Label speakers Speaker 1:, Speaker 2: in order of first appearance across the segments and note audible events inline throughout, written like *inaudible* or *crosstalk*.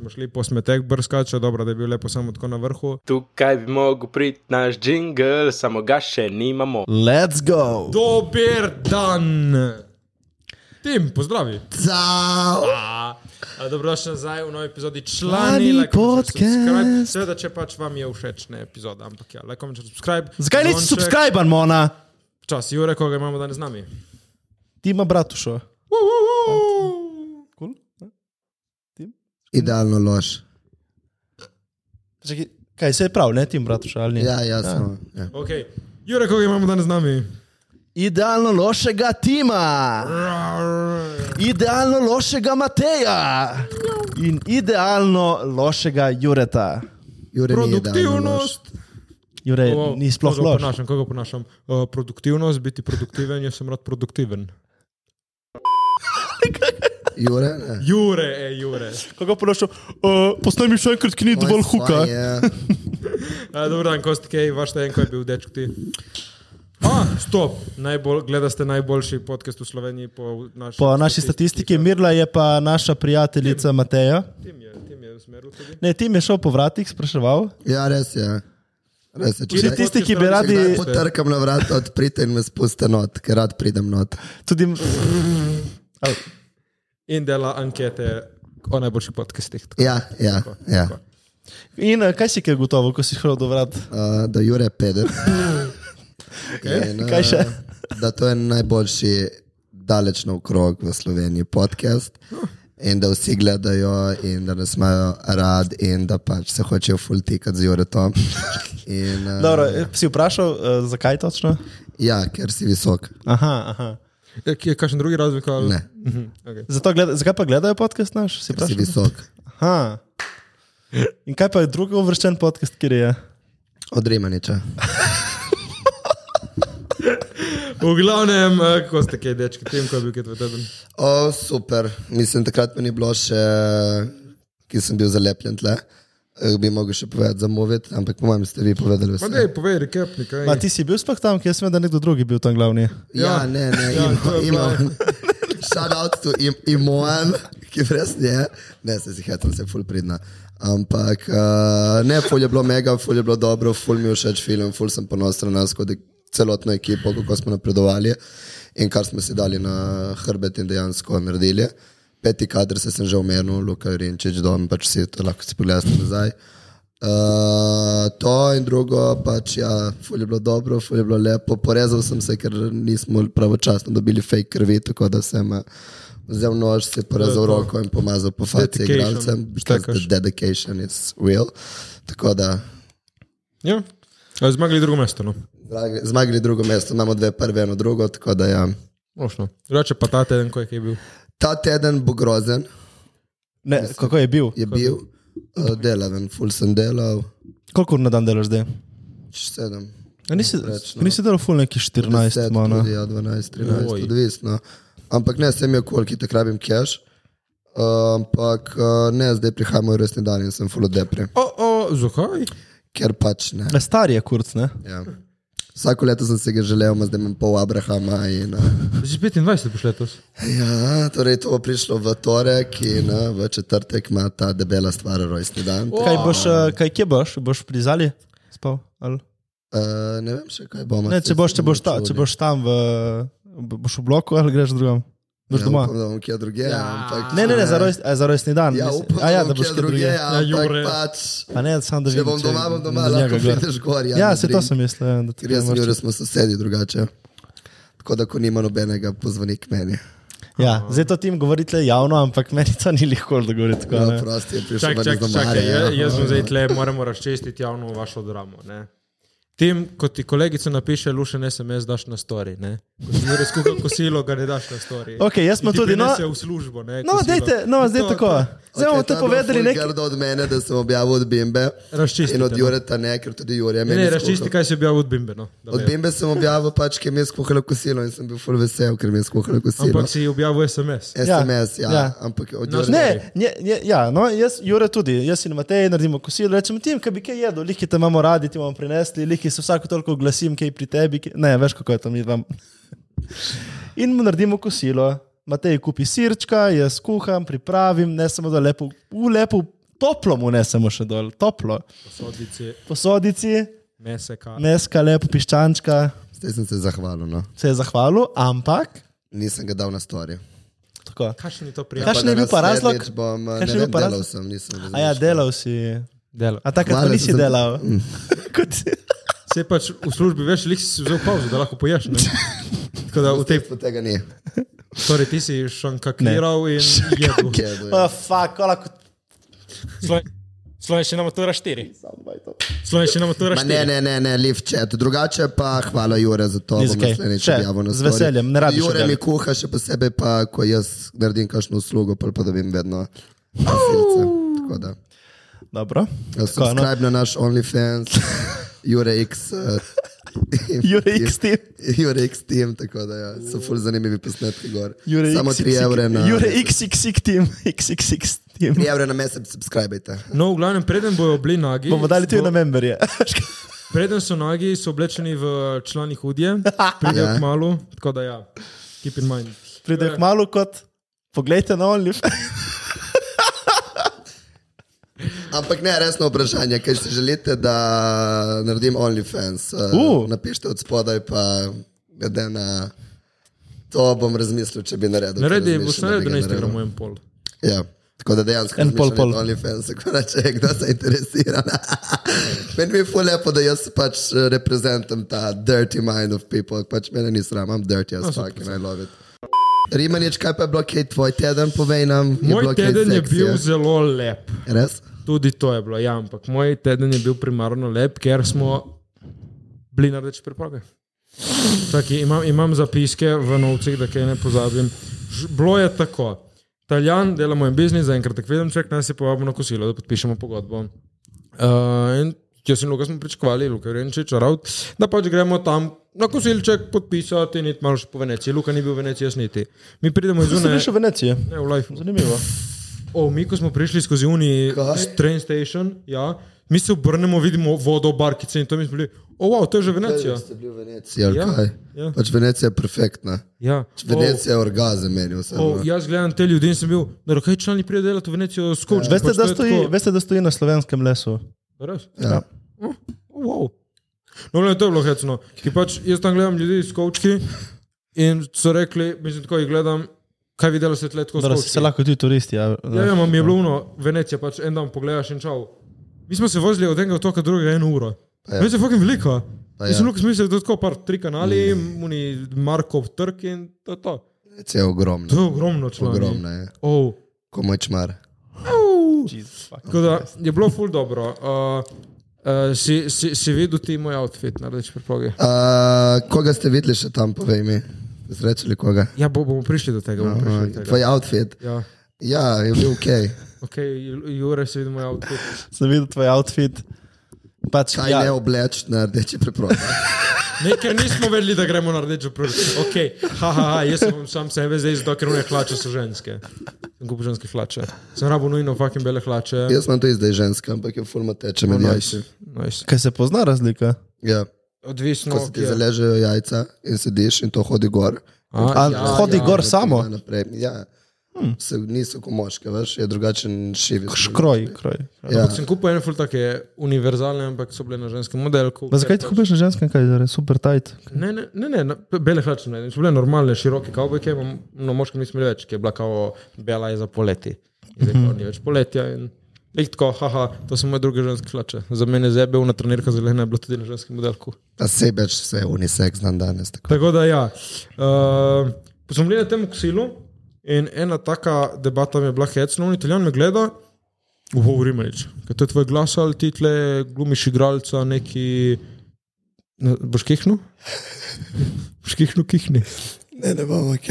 Speaker 1: smo šli po smetek brskače, dobro, da je bil lepo samo tako na vrhu.
Speaker 2: Tukaj bi mogel priti naš jingle, samo ga še nimamo.
Speaker 3: Let's go!
Speaker 1: Dober dan! Tim, pozdravi.
Speaker 3: Ciao!
Speaker 1: A, a, Dobrodošli nazaj v novi epizodi člani
Speaker 3: Člani
Speaker 1: Like, comment, share,
Speaker 3: podcast.
Speaker 1: subscribe. Seveda, če pač vam je všeč ne epizoda, ampak ja, like, comment, share, subscribe.
Speaker 3: Zakaj nisi
Speaker 1: Zvonček.
Speaker 3: subscriber, Mona?
Speaker 1: Čas, Jure, koga imamo danes z nami.
Speaker 3: Ti ima bratušo.
Speaker 1: Uu, uu, uu.
Speaker 3: Cool.
Speaker 4: Idealno lož.
Speaker 3: Čakaj, kaj se je prav, ne tim bratušo ali ne?
Speaker 4: Ja, jasno. Ja.
Speaker 1: Okay. Jure, koga imamo danes z nami.
Speaker 3: Idealno lošega tima, idealno lošega Mateja in idealno lošega Jureta.
Speaker 4: Jure ni idealno lož.
Speaker 1: Produktivnost.
Speaker 3: Jure,
Speaker 1: O,
Speaker 3: ni sploh
Speaker 1: koga
Speaker 3: loš.
Speaker 1: Oponašam, koga ponašam? Uh, produktivnost, biti produktiven, jaz sem rad produktiven.
Speaker 4: Jure, ne.
Speaker 1: Jure, ej, Jure.
Speaker 3: Kako ponašam? Uh, Posnaj mi še enkrat knjig
Speaker 4: Ja.
Speaker 1: Uh, Dobro dan, Kosti, kaj vaš ten, ko je bil dečk ti? A, stop, Najbolj, gledali ste najboljši podcast v Sloveniji po naši,
Speaker 3: Po naši statistiki, Mirla je pa naša prijateljica Mateja.
Speaker 1: Tim je, tim je usmeril tudi.
Speaker 3: Ne, tim je šel po vratih, spraševal.
Speaker 4: ja, res je. Res je. Če
Speaker 1: Tudi
Speaker 4: kdaj-
Speaker 3: tisti, ki bi
Speaker 1: podcast
Speaker 3: radi-
Speaker 1: radi-
Speaker 4: kdaj potrkam na vrat, odprite in me spustite not, ker rad pridem not.
Speaker 3: Tudi
Speaker 1: In dela ankete o najboljših podcastih. Tako,
Speaker 4: Ja, ja, ja.
Speaker 1: tako.
Speaker 3: In eh, kaj si kaj gotovo, ko si hodil do vrat?
Speaker 4: Uh, da Jure je peder. okay. in,
Speaker 3: *laughs* Kaj še?
Speaker 4: Da to je najboljši daleč naokrog v Sloveniji podcast. In da vsi gledajo, in da nas imajo rad, in da pač se hočejo fultikati z
Speaker 3: *laughs*
Speaker 4: Juretom. In, uh,
Speaker 3: Dobro, eh, si vprašal, eh, zakaj točno?
Speaker 4: Ja, ker si visok.
Speaker 3: Aha, aha.
Speaker 1: Ja, ki Je kakšen drugi razlog? ali-
Speaker 4: Ne,
Speaker 1: Mhm, okej.
Speaker 3: Zato gleda, zakaj pa gledajo podcast naš? Si
Speaker 4: ker si
Speaker 3: vprašal?
Speaker 4: visok.
Speaker 3: Aha. In kaj pa je drugi uvrščen podcast, kjer je?
Speaker 4: Od Rimaniča.
Speaker 1: V glavnem, eh, Kosti, kaj dečki, tim, ko je bil kaj v tebi.
Speaker 4: O, super. Mislim, takrat mi ni bilo še, ki sem bil zalepljen tle. Eh, Bi mogel še povedati za Movit, ampak po mojem ste vi povedali
Speaker 1: Pa
Speaker 4: vse.
Speaker 1: dej, povej, recap, nekaj.
Speaker 3: Ma, ti si bil sploh tam, ker sem vedel, da je nekdo drugi bil tam glavni.
Speaker 4: Ja,
Speaker 1: Ja.
Speaker 4: ne, ne,
Speaker 1: Ja, to je bilo.
Speaker 4: imam. *laughs* Shout out to Im Imoan, ki res je. Ne, se si hecam, se ful pridna. Ampak uh, ne, ful je bilo mega, ful je bilo dobro, ful mi je všeč film, ful sem ponosen na nas kot celotno ekipo, kako smo napredovali in kar smo si dali na hrbet in dejansko naredili. Peti kader se sem že omenil, Luka Rinčič, dom, pač si to lahko si pogledate nazaj. Uh, to in drugo, pač ja, ful je bilo dobro, ful je bilo lepo. Porezal sem se, ker nismo pravočasno dobili fake krvi, tako da sem eh, vzel nož, si porezal roko in pomazal po faci
Speaker 1: Dedication,
Speaker 4: igralcem.
Speaker 1: štekaš.
Speaker 4: The Dedication is real. Tako da
Speaker 1: Ja, Eh, zmagali drugo mesto. No.
Speaker 4: dragi- zmagali drugo mesto, imamo dve prve, eno drugo, tako da ja.
Speaker 1: Močno. Drugače pa ta teden, ko je kaj bil.
Speaker 4: Ta teden bo grozen,
Speaker 3: Ne, kako je bil?
Speaker 4: je bil eh, delaven, ful sem delal,
Speaker 3: Koliko ur na dan delaš zdaj?
Speaker 4: č- sedem.
Speaker 3: Ja, Nisi, nisi delal full neki 14,
Speaker 4: 10,
Speaker 3: mana.
Speaker 4: tudi, ja, 12, 13,
Speaker 1: Oj.
Speaker 4: odvisno. Ampak ne, sem je kolki, tako rabim cash. Ampak uh, ne, zdaj prihajamo v resni dan in sem full of depre,
Speaker 1: O, o, zakaj?
Speaker 4: ker pač ne.
Speaker 3: Ne, star je kurc, ne?
Speaker 4: Ja. Vsako leto sem se ga želel, ma zdaj imam pol Abrahama. In, uh,
Speaker 1: Že 25 boš letos.
Speaker 4: ja, torej to bo prišlo v torek in uh, v četrtek ima ta debela stvar rojstni dan.
Speaker 3: Kaj boš, eh, kaj kje boš? Boš pri Zali? Spal? Ali?
Speaker 4: Uh, ne vem še kaj bomo.
Speaker 3: Ne, če boš, če boš, ta,
Speaker 4: čuli.
Speaker 3: če boš tam, v, boš v bloku ali greš drugam, boš
Speaker 4: Ja,
Speaker 3: doma.
Speaker 4: upam, da bom kje drugje. Ja. Ampak,
Speaker 3: Ne, ne, ne za, rojst, a, za rojstni dan.
Speaker 4: Ja,
Speaker 3: mislim.
Speaker 4: upam,
Speaker 3: a, ja, da
Speaker 4: bom
Speaker 3: boš
Speaker 4: kje
Speaker 3: kje drugje.
Speaker 4: Ja,
Speaker 1: Jure.
Speaker 4: Jure. Pač,
Speaker 3: A ne, sam da
Speaker 4: Če
Speaker 3: vidim.
Speaker 4: bom doma, bom doma,
Speaker 3: do njega
Speaker 4: lahko
Speaker 3: gre.
Speaker 4: prideš gor.
Speaker 3: Ja,
Speaker 4: na
Speaker 3: se to
Speaker 4: drink.
Speaker 3: sem mislil. ja, da ti
Speaker 4: Ker jaz
Speaker 3: gremo
Speaker 4: in
Speaker 3: še-
Speaker 4: Jure smo sosedi drugače. Tako da, ko nima nobenega, pozvoni k meni.
Speaker 3: Ja, zdaj to tim govorite javno, ampak meni to ni lahko dogovoriti. tako,
Speaker 4: Ja,
Speaker 3: ne.
Speaker 4: prosti je prišel
Speaker 1: Čakaj,
Speaker 4: ven iz
Speaker 1: čakaj,
Speaker 4: doma.
Speaker 1: čakaj. ja- Jaz sem zdaj tle, moramo razčistiti javno vašo dramo. Ne? Tim, ko ti kolegica napiše, lušen SMS, daš na story. Ne? Ko si res kuha kosilo, ga ne daš na story.
Speaker 3: Ok, jaz smo
Speaker 1: In ti
Speaker 3: tudi, no-
Speaker 1: prinese v službo. Ne,
Speaker 3: No,
Speaker 1: kosilo.
Speaker 3: dejte, no, zdaj
Speaker 1: To-
Speaker 3: tako. Zdaj bomo to povedali nekaj.
Speaker 4: Gerdo od mene, da sem objavil od Bimbe.
Speaker 1: Razčistite,
Speaker 4: In
Speaker 1: no.
Speaker 4: od Jureta ne, ker tudi Jure je
Speaker 1: Ne,
Speaker 4: meni.
Speaker 1: ne,
Speaker 4: skuhal.
Speaker 1: razčisti, kaj si objavil od Bimbe. No, da
Speaker 4: Od
Speaker 1: vem.
Speaker 4: Bimbe sem objavil, pač, ki mi je skuhalo kosilo in sem bil full vesel, ker mi je skuhalo kosilo.
Speaker 3: no.
Speaker 1: Ampak si objavil SMS.
Speaker 3: Ja,
Speaker 4: SMS, ja,
Speaker 3: ja.
Speaker 4: ja. ampak od
Speaker 1: No,
Speaker 4: Jure.
Speaker 3: Ne, nje, nje, ja, no, jaz, Jure tudi, jaz in Matej naredimo kosilo, rečemo tim, kaj bi kaj jedel, liki te imamo radi, ti bomo prinesli, liki se vsako toliko oglasim, kaj pri tebi, kaj, ne, veš kako je to mi vam. *laughs* In mu naredimo kosilo, Matej kupi sirčka, jaz kuham, pripravim, ne samo da lepo, v lepo toplo mu nesemo še dol, toplo.
Speaker 1: Sodici,
Speaker 3: Posodici,
Speaker 1: meseka.
Speaker 3: meska, lepo piščančka,
Speaker 4: Zdaj sem se zahvalil, no.
Speaker 3: se je zahvalil, ampak
Speaker 4: nisem ga dal na storje.
Speaker 3: tako.
Speaker 1: Kakšen je to
Speaker 3: Kaj
Speaker 1: prijatelj?
Speaker 3: še- Kakšen je bil pa razlog?
Speaker 4: Bom, ne
Speaker 3: Kakšen je
Speaker 4: vem,
Speaker 3: bil pa
Speaker 4: delal
Speaker 3: razlog?
Speaker 4: sem, nisem ga
Speaker 3: A ja,
Speaker 4: zamišljal.
Speaker 3: delal si.
Speaker 1: Delo.
Speaker 3: A takrat
Speaker 4: Malo
Speaker 3: pa nisi
Speaker 4: sem-
Speaker 3: delal. *laughs* Kot *laughs* si.
Speaker 1: Se pač v službi veš, lih si si vzel pauzo, da lahko poješ.
Speaker 3: *laughs*
Speaker 1: ne. Tako da v tej,
Speaker 4: Po tega ni.
Speaker 1: torej ti si šankakiral in jedel.
Speaker 4: Kedo, ja.
Speaker 3: Oh, fuck, ko lahko.
Speaker 1: Slovenščina matura 4. Slovenščina matura
Speaker 4: Ma ne,
Speaker 1: 4.
Speaker 4: ne, ne, ne, live chat. Drugače pa hvala Jure za to,
Speaker 3: Ni
Speaker 4: bom
Speaker 3: za kaj.
Speaker 4: naslednjič
Speaker 3: Še,
Speaker 4: objavil na
Speaker 3: z
Speaker 4: story.
Speaker 3: veseljem, ne rabiš
Speaker 4: Jure mi
Speaker 3: objavljati.
Speaker 4: kuha, še posebej pa, ko jaz naredim kakšno uslugo, pol pa da vem vedno. Gasilce. Tako da.
Speaker 3: Dobro. Tako, no.
Speaker 4: Ja, Subscribe na naš
Speaker 3: *laughs*
Speaker 4: OnlyFans, Jure X. eh,
Speaker 3: Jure X team.
Speaker 4: Jure X team, tako da ja, so ful zanimivi posnetki gor.
Speaker 3: Jure
Speaker 4: Samo
Speaker 3: XXX
Speaker 4: 3 evre na, Ja.
Speaker 3: Jure XXX team, *laughs* XXX team.
Speaker 4: 3 evre na mesec, subskrbajte.
Speaker 1: No, v glavnem, preden bojo bili nagi,
Speaker 3: Bomo dali tudi
Speaker 1: bo-
Speaker 3: na memberje. *laughs*
Speaker 1: preden so nagi, so oblečeni v eh, člani
Speaker 4: *laughs*
Speaker 1: hudje,
Speaker 4: Ja.
Speaker 1: pridejo k malu, tako da ja, keep in mind.
Speaker 3: Pride k malu kot. Poglejte na OnlyFans.
Speaker 4: Ampak ne, resno vprašanje, kaj si želite, da naredim OnlyFans. Eh,
Speaker 3: Uh.
Speaker 4: Napišite od spodaj, pa glede na to bom razmislil, če bi naredil. ker
Speaker 1: Naredi,
Speaker 4: razmišljam,
Speaker 1: boš
Speaker 4: da bi
Speaker 1: naredil
Speaker 4: ga
Speaker 1: na
Speaker 4: naredil.
Speaker 1: Instagramu en pol.
Speaker 4: Ja. Tako da dejansko
Speaker 3: En pol, pol.
Speaker 4: na OnlyFans, ko reče, kdo se interesira. *laughs* meni je ful lepo, da jaz pač eh, reprezentam ta dirty mind of people, pač mene ni sram, I'm dirty
Speaker 1: No,
Speaker 4: as fuck and I love it. Rimanič, kaj pa je bilo, kaj tvoj teden, povej nam. je bilo
Speaker 1: Moj
Speaker 4: kaj
Speaker 1: teden je
Speaker 4: seksija?
Speaker 1: bil zelo lep.
Speaker 4: Res?
Speaker 1: Tudi to je bilo, ja, ampak moj teden je bil primarno lep, ker smo bili na reči preproge. Čaki, imam, imam zapiske v novcih, da kaj ne pozabim. Ž- Bilo je tako. Italijan, delamo en biznis, zaenkrat tak vidim, ček nas je povabil na kosilo, da podpišemo pogodbo. Uh, in jaz in Luka smo pričakovali, Luka Renčič, Araut, da pač gremo tam na kosilček podpisati in iti malo še po Veneciji. Luka ni bil v Veneciji, jaz niti. Mi pridemo iz
Speaker 3: *laughs* Zunaj
Speaker 1: Unije.
Speaker 3: je še Venecija.
Speaker 1: Ne, v life.
Speaker 3: Zanimivo.
Speaker 1: O, mi, ko smo prišli skozi Uni,
Speaker 4: Kaj?
Speaker 1: s train station, ja, mi se obrnemo, vidimo vodo, barkice in to mi smo bili, o, wow, to je že Venecija.
Speaker 4: Ste bili v Veneciji ali
Speaker 1: Ja,
Speaker 4: kaj?
Speaker 1: ja.
Speaker 4: Pač Venecija je perfektna.
Speaker 1: Ja.
Speaker 4: Venecija je orgazem meni vse.
Speaker 1: O, o, ja. jaz gledam te ljudi in sem bil, da rokaj člani pridejo delati v Venecijo pač, s kočem.
Speaker 3: Veste, da stoji, veste, da stoji na slovenskem lesu.
Speaker 1: Res?
Speaker 4: Ja.
Speaker 1: O, wow. No, gledaj, to je bilo hecno. Ki pač, jaz tam gledam ljudi s kočki in so rekli, mislim, tako jih gledam, kaj videlo se tle tako
Speaker 3: Dobro,
Speaker 1: skočki.
Speaker 3: se lahko tudi turisti. Ja,
Speaker 1: Ja, ja, mi je
Speaker 4: no.
Speaker 1: bilo uno, Venecija pač en dan pogledaš in čau. Mi smo se vozili od enega otoka do drugega eno uro.
Speaker 4: ja.
Speaker 1: Venecija je fucking velika.
Speaker 4: Pa
Speaker 1: Jaz sem
Speaker 4: ja. Mm.
Speaker 1: lahko smisel, da je tako par tri kanali, muni Markov trg in to je to.
Speaker 4: Venecija je ogromna.
Speaker 1: To je ogromno članov.
Speaker 4: Ogromna je.
Speaker 1: Oh.
Speaker 4: Ko moj čmar.
Speaker 3: Jesus, fuck.
Speaker 1: Tako da je bilo ful dobro. Uh, uh, si, si, si videl ti moj outfit, narediš preproge.
Speaker 4: A, koga ste videli še tam, povej mi? Ste Srečali koga?
Speaker 1: Ja, bo, bomo prišli do tega. Bomo prišli do
Speaker 4: A,
Speaker 1: Ja, tega.
Speaker 4: Tvoj outfit.
Speaker 1: Ja,
Speaker 4: Ja, je bil
Speaker 1: *laughs*
Speaker 4: ok.
Speaker 1: ok, Ju- Jure, si videl moj outfit.
Speaker 3: Sem videl tvoj outfit. Pač,
Speaker 4: Kaj ja. ne
Speaker 3: ja,
Speaker 4: obleč na rdeči preprosti.
Speaker 1: *laughs* Ne, ker nismo vedeli, da gremo na rdečo prst. Okay. Ha, ha, ha, jaz sem bom sam sebe zdaj izdal, ker moje hlače so ženske. Sem kupil ženske hlače. Sem rabo nujno fucking bele hlače.
Speaker 4: Jaz sem tudi zdaj ženska, ampak je forma teče med jajci.
Speaker 1: Nice, nice.
Speaker 3: kaj se pozna razlika?
Speaker 4: Ja.
Speaker 1: Odvisno
Speaker 4: Ko se ti
Speaker 1: kje.
Speaker 4: zaležejo jajca in sediš in to hodi gor.
Speaker 3: A,
Speaker 1: ja,
Speaker 3: hodi
Speaker 1: ja.
Speaker 3: gor samo?
Speaker 4: Naprej. Ja.
Speaker 1: Hm.
Speaker 4: Hmm. Se, niso kot moške, veš, je drugačen šivik.
Speaker 3: Škroj, kroj.
Speaker 4: Ja.
Speaker 1: Sem kupil ene ful take univerzalne, ampak so bile na ženskem modelku.
Speaker 3: Ma zakaj ti kupiš na ženskem, kaj je super tight?
Speaker 1: Ne, ne, ne, ne, na- bele hlače ne, so bile normalne, široke kavbojke, imam- na moškem nismo imeli več, ki je bila kao bela je za poleti. In Zdaj pa ni več poletja in lih tako, haha, to so moje druge ženske hlače. Za mene zebe, una trenirka zelena je bila tudi na ženskem modelku.
Speaker 4: Ta sebeč vse je unisex dan danes. Tako.
Speaker 1: Tako da ja, uh, smo bili na tem kosilu in ena taka debata mi je bila hecna, in italijan me gleda, wow, Rimanič, kaj to je tvoj glas ali ti tle glumiš igralca, neki, ne, boš kihnu? *laughs* Boš kihnu, kihni.
Speaker 4: Ne, ne bom ok.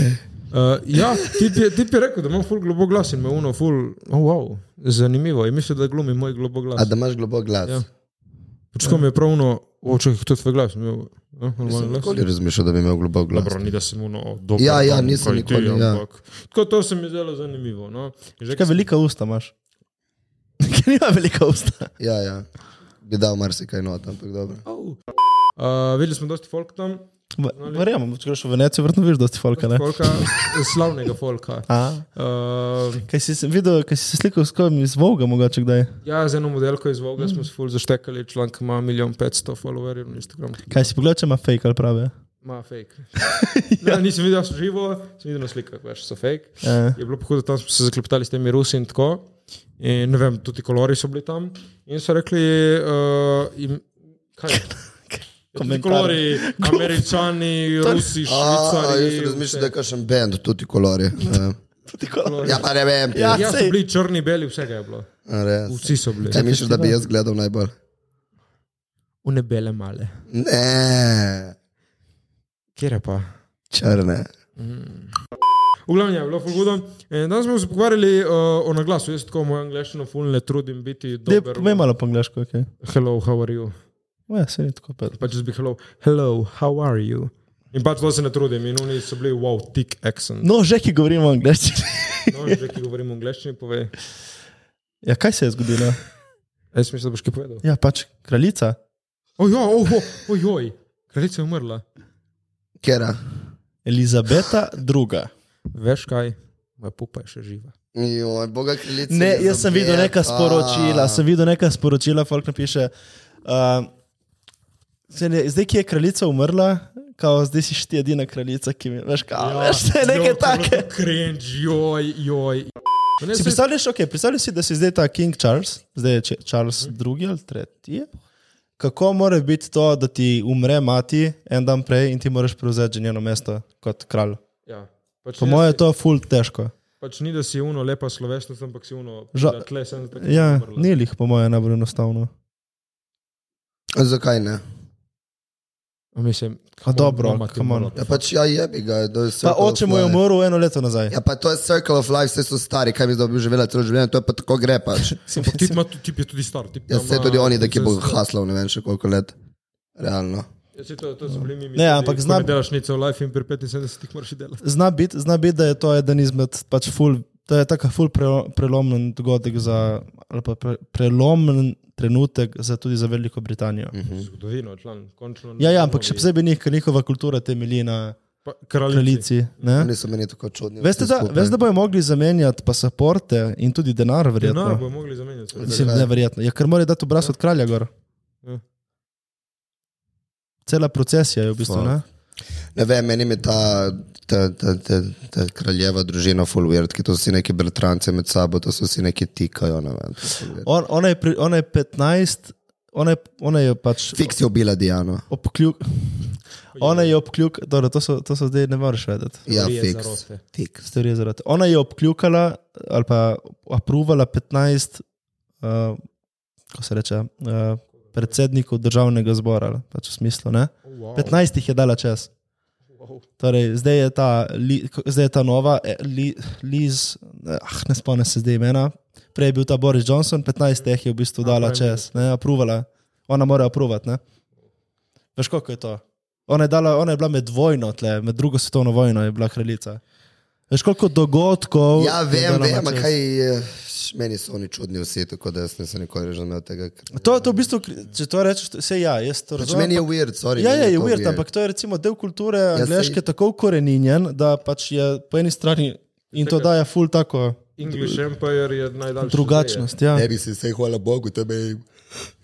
Speaker 1: Uh, ja, ti je, tip je rekel, da imam ful globok glas in me uno ful, oh, wow, zanimivo. In mislim, da glumi moj globok glas.
Speaker 4: A da imaš globok glas.
Speaker 1: Ja. Počko mi je prav uno, oče, to je tvoj glas. Imel, eh, normalen glas.
Speaker 4: Nikoli razmišljal, da bi imel globok glas.
Speaker 1: Dobro, ni da sem uno dobro.
Speaker 4: Ja, ja, nisem nikoli, ja.
Speaker 1: Tako to se mi je zdelo zanimivo. No. Že
Speaker 3: Kaj velika usta imaš? *laughs* Ker nima velika usta.
Speaker 4: Ja, ja. Bi dal marsikaj not, ampak dobro.
Speaker 1: Uh, videli Eh, smo dosti folk tam,
Speaker 3: Verjamem, če greš v Venecijo, verjetno vidiš dosti folka. Ja, ne?
Speaker 1: Folka, eh, slavnega folka.
Speaker 3: A?
Speaker 1: Uh,
Speaker 3: Kaj si se videl, kaj si se slikal s kom iz Volga, mogoče kdaj?
Speaker 1: ja, z eno modelko iz Voga smo se ful zaštekali, članek ima milijon petsto followerjev na Instagramu.
Speaker 3: Kaj si pogledal, če ima fake ali prave?
Speaker 1: Ma
Speaker 4: *laughs*
Speaker 1: fake. ja. ne, nisem videl, da so živo, sem videl na slikah, veš, so fake.
Speaker 4: Ja.
Speaker 3: Eh.
Speaker 1: Je bilo pohodno, tam smo se zaklepetali s temi Rusi in tako. In ne vem, tudi kolori so bili tam. In so rekli, uh, jim, kaj
Speaker 4: *laughs*
Speaker 1: je. Tudi
Speaker 3: Komentarje.
Speaker 1: kolori, američani, rusi,
Speaker 4: A, a, jaz
Speaker 1: švicari.
Speaker 4: razmišljam,
Speaker 1: vse.
Speaker 4: da je kakšen bend, tudi kolori. Ja.
Speaker 3: Tudi kolor.
Speaker 4: Ja, pa ne vem. ti.
Speaker 3: Ja.
Speaker 1: Ja, so
Speaker 3: sej.
Speaker 1: bili črni, beli, vsega je bilo.
Speaker 4: A res.
Speaker 1: Vsi so bili.
Speaker 4: Kaj misliš, da bi jaz gledal najbolj?
Speaker 1: V nebele male.
Speaker 4: Ne,
Speaker 1: Kjer je pa?
Speaker 4: črne.
Speaker 1: V glavnem je bilo fulgudo. Danes smo se pogovarjali uh, o naglasu. Jaz tako mojo angliščino ful ne trudim biti
Speaker 3: Dej,
Speaker 1: dober.
Speaker 3: povej malo po angliško, ok.
Speaker 1: Hello, how are you?
Speaker 3: Ja, se je tako pet.
Speaker 1: Pač jaz bi hello, hello, how are you? In pač to se ne trudim. In oni so bili wow, thick accent.
Speaker 3: No, že ki govorimo angliščino.
Speaker 1: No, že ki govorim v angliščini, povej.
Speaker 3: *laughs* Ja, kaj se je zgodilo?
Speaker 1: Jaz mislim, da boš kaj povedal.
Speaker 3: Ja, pač kraljica.
Speaker 1: Ojoj, ojoj, ojoj. Kraljica je umrla.
Speaker 4: Kera?
Speaker 3: Elizabeta II.
Speaker 1: Veš kaj? Moja pupa je še živa.
Speaker 4: Joj, boga kraljica.
Speaker 3: Ne, jaz sem videl neka
Speaker 4: Elizabeta.
Speaker 3: sporočila, sem videl neka sporočila, folk napiše. Uh, zdaj, ki je kraljica umrla, kao, zdaj si ti edina kraljica, ki mi veš, kao, ja, veš, ne, nekaj take.
Speaker 1: Krenč, joj, joj. No, ne,
Speaker 3: Si
Speaker 1: saj-
Speaker 3: predstavljaš, okay, predstavljaš si, da si zdaj ta King Charles, zdaj je Če- Charles II ali tretji. Kako mora biti to, da ti umre mati en dan prej in ti moraš prevzeti že njeno mesto kot kralj?
Speaker 1: Ja. Pač ni,
Speaker 3: Po
Speaker 1: da
Speaker 3: mojem je
Speaker 1: si-
Speaker 3: to ful težko.
Speaker 1: Pač ni, da si uno lepa slovesnost, ampak si uno
Speaker 3: Ža-
Speaker 1: Žal... tle sem tako.
Speaker 3: Ja, ni lih, po mojem, najbolj enostavno.
Speaker 4: Zakaj ne?
Speaker 1: Mislim,
Speaker 3: A dobro, come on.
Speaker 4: Ja, pač ja, jebi ga. to je
Speaker 3: Pa
Speaker 4: circle of
Speaker 3: oče mu je
Speaker 4: life.
Speaker 3: umrl eno leto nazaj.
Speaker 4: Ja, pa to je circle of life, vse so stari, kaj mi zdaj bi živela celo življenje, to je pa tako gre pač.
Speaker 1: Ampak tip, ima, tip je tudi star. Tip
Speaker 4: Ja,
Speaker 1: ima-
Speaker 4: vse tudi oni, da ki bo
Speaker 1: saj-
Speaker 4: haslal ne vem še koliko let. Realno.
Speaker 1: Ja, saj to, to so bili mi. mi
Speaker 3: Ne,
Speaker 1: tudi,
Speaker 3: ampak
Speaker 1: ko
Speaker 3: znam-
Speaker 1: ne Delaš nič v life in pri 75 moraš iti delati.
Speaker 3: Zna biti, zna bit, da je to eden izmed pač ful, to je taka ful prelo- prelomen dogodek za, ali pa pre, prelomen trenutek za, tudi za Veliko Britanijo.
Speaker 1: Zgodovino, član, končno.
Speaker 3: Ja, ja, ampak še
Speaker 1: novi-
Speaker 3: posebej njih, ker njihova kultura temelji na
Speaker 1: Pa, kraljici.
Speaker 3: kraljici. Ne?
Speaker 4: Oni so meni tako čudni.
Speaker 3: Ja. Veste, da,
Speaker 4: Skupaj.
Speaker 3: veste, da bojo mogli zamenjati pasaporte in tudi denar,
Speaker 1: Denar
Speaker 3: verjetno.
Speaker 1: Ja, no, bojo mogli zamenjati. seveda.
Speaker 3: Mislim, neverjetno. Ja, ker morajo dati obraz od kralja gor.
Speaker 1: Ja.
Speaker 3: Cela procesija je v bistvu.
Speaker 4: Fuck.
Speaker 3: Ne?
Speaker 4: Ne vem, meni je ta, ta, ta, ta, ta kraljeva družina full weird, ki to so vsi neki bratranci med sabo, to so vsi neki tikajo. ne Vem, to je ful weird.
Speaker 3: On, ona, je pri, ona je 15, ona je, ona je pač.
Speaker 4: Fiks je ubila Diano.
Speaker 3: Obkljuk. Ona je obkljuk, dobro, to so, to so zdaj ne moreš vedeti.
Speaker 4: Ja,
Speaker 1: Teorije
Speaker 4: fiks.
Speaker 1: zarote.
Speaker 4: Fiks.
Speaker 3: Teorije zarote. Ona je obkljukala ali pa aprovala 15, uh, ko se reče, uh, predsednikov državnega zbora, ali pač v smislu, ne?
Speaker 1: Oh, wow.
Speaker 3: 15 jih je dala čez.
Speaker 1: Wow.
Speaker 3: Torej, zdaj, je ta, li, ko- zdaj je ta nova, eh, li, Liz, eh, ah, ne spomnim se zdaj imena, prej je bil ta Boris Johnson, 15 teh je v bistvu
Speaker 4: Ja,
Speaker 3: dala
Speaker 1: pravi
Speaker 3: čez, ne, aprovala. Ona mora aprovat, ne. Veš, koliko je to? Ona je, dala, ona je bila med vojno, tle, med drugo svetovno vojno je bila kraljica. Veš, koliko dogodkov.
Speaker 4: Ja,
Speaker 3: je
Speaker 4: vem,
Speaker 3: dala
Speaker 4: vem,
Speaker 3: na čez.
Speaker 4: kaj je. Meni so oni čudni vsi, tako da jaz nisem nikoli razumel tega. ker-
Speaker 3: To, to v bistvu, če to rečeš, vse ja, jaz to
Speaker 4: Pač
Speaker 3: razumem.
Speaker 4: meni je weird, sorry.
Speaker 3: Ja,
Speaker 4: meni
Speaker 3: ja, je
Speaker 4: to
Speaker 3: weird, ampak to je recimo del kulture
Speaker 4: Ja, saj-
Speaker 3: angleške tako ukoreninjen, da pač je po eni strani in to daje ful tako
Speaker 1: English Empire je najdaljši.
Speaker 3: drugačnost. Ja.
Speaker 4: Ne bi se vse, hvala Bogu, tebe.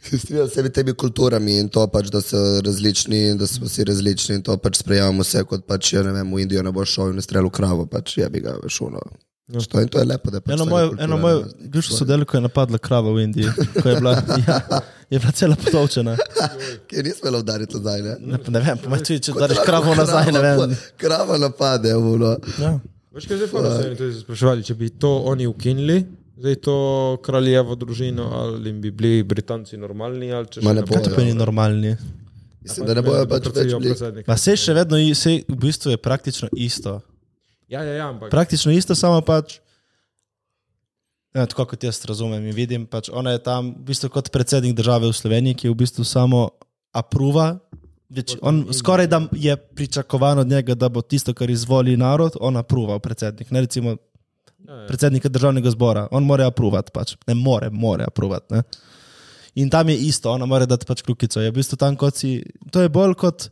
Speaker 4: Se strinjam s vsemi temi kulturami in to pač, da so različni in da smo vsi različni in to pač sprejemamo vse kot pač, ja ne vem, v Indijo ne boš šel in strelil kravo, pač je bi ga šuno. To, in to je lepo, da pač
Speaker 3: Ja. Eno
Speaker 4: vsaka
Speaker 3: mojo,
Speaker 4: kultura
Speaker 3: eno
Speaker 4: ima
Speaker 3: mojo
Speaker 4: različne
Speaker 3: bivšo
Speaker 4: stvari.
Speaker 3: sodelavko je napadla krava v Indiji, ko je
Speaker 4: *laughs*
Speaker 3: bila, ja, je bila cela potovčena.
Speaker 4: Ki nismo le udarili nazaj, ne?
Speaker 3: Ne, pa ne vem, pa maj tudi, če daš kravo nazaj, ne vem.
Speaker 4: Krava napade, ulo.
Speaker 3: Ja.
Speaker 1: Veš kaj je zdaj fora, se oni tudi spraševali, če bi to oni ukinili, zdaj to kraljevo družino, ali bi bili Britanci normalni, ali če
Speaker 4: Ma ne
Speaker 3: Kaj to
Speaker 1: Ja,
Speaker 4: bojo.
Speaker 3: pomeni normalni?
Speaker 4: Mislim, da ne bojo pač več bili.
Speaker 1: predsednika.
Speaker 3: Pa se še vedno, i- saj v bistvu je praktično isto.
Speaker 1: Ja, ja, ja, ampak
Speaker 3: praktično isto, samo pač. Ja, tako kot jaz razumem in vidim, pač ona je tam v bistvu kot predsednik države v Sloveniji, ki je v bistvu samo apruva. Več, on, skoraj da je pričakovano od njega, da bo tisto, kar izvoli narod, on apruval predsednik. Ne recimo
Speaker 1: Ja,
Speaker 3: predsednika državnega zbora, on mora apruvati, pač. ne more, mora apruvati. Ne? In tam je isto, ona mora dati pač kljukico. Je v bistvu tam kot si, to je bolj kot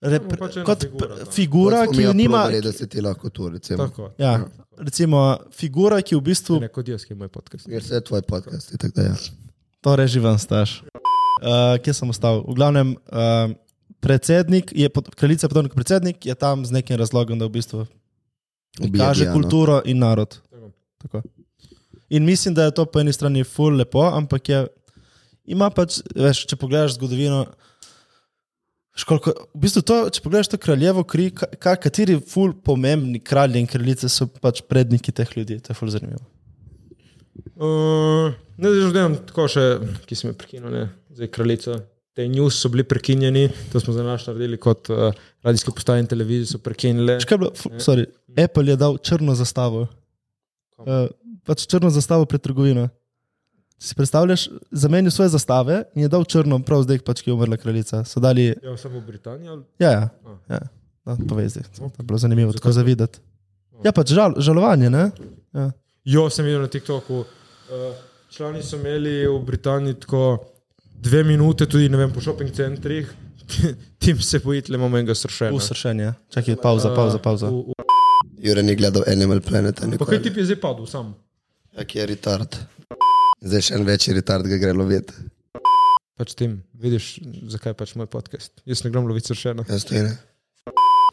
Speaker 3: rep,
Speaker 1: Ja, pač ena
Speaker 3: kot
Speaker 1: figura,
Speaker 3: figura,
Speaker 1: da.
Speaker 3: figura ki jo nima.
Speaker 4: Reda se ti lahko to, recimo.
Speaker 1: Tako.
Speaker 3: Ja, recimo, figura, ki v bistvu
Speaker 1: Ne kot jaz, ki je moj podcast.
Speaker 4: Ker se je tvoj podcast, tako da ja.
Speaker 3: To reži torej ven staž. Uh, kje sem ostal? V glavnem, uh, predsednik, je, pod- kraljica je podobna kot predsednik, je tam z nekim razlogom, da v bistvu
Speaker 4: Ubija
Speaker 3: kaže
Speaker 4: Diano.
Speaker 3: kulturo in narod.
Speaker 1: Tako.
Speaker 3: Tako. In mislim, da je to po eni strani ful lepo, ampak je, ima pač, veš, če pogledaš zgodovino. veš, Koliko, v bistvu to, če pogledaš to kraljevo kri, ka, ka, kateri ful pomembni kralji in kraljice so pač predniki teh ljudi, to je ful zanimivo.
Speaker 1: Uh, ne, zdaj že gledam tako še, ki sem jo prekinil, ne, zdaj kraljica. Te news so bili prekinjeni, to smo za naš naredili kot uh, radijske postaje in televizije so prekinile.
Speaker 3: Veš, kaj je bilo? Fu- Sorry, Apple je dal črno zastavo. Uh, pač črno zastavo pred trgovino. Si predstavljaš, zamenil svoje zastave in je dal črno, prav zdaj, pač, ki je umrla kraljica. So dali,
Speaker 1: Ja, samo v Britaniji. ali-
Speaker 3: ja, ja.
Speaker 1: A.
Speaker 3: ja. No, povej zdaj, to je bilo zanimivo, tako zavideti.
Speaker 1: O.
Speaker 3: Ja, pač žal, žalovanje, ne? Ja.
Speaker 1: Jo, sem videl na TikToku. Uh, člani so imeli v Britaniji tako dve minute, tudi ne vem, po šoping centrih, *laughs* tim se boji, le imamo enega sršena.
Speaker 3: Usršenje. Čakaj, pauza, pauza, pauza.
Speaker 1: Uh, v- v-
Speaker 4: Jure ni gledal Animal Planeta,
Speaker 1: Pa kaj
Speaker 4: nikoli.
Speaker 1: ti je zdaj padel sam?
Speaker 4: Kak je retard? Zdaj še en večji retard, ga gre loviti.
Speaker 1: Pač tim, vidiš, zakaj je pač moj podcast. Jaz ne grem loviti sršena.
Speaker 4: Jaz to ne.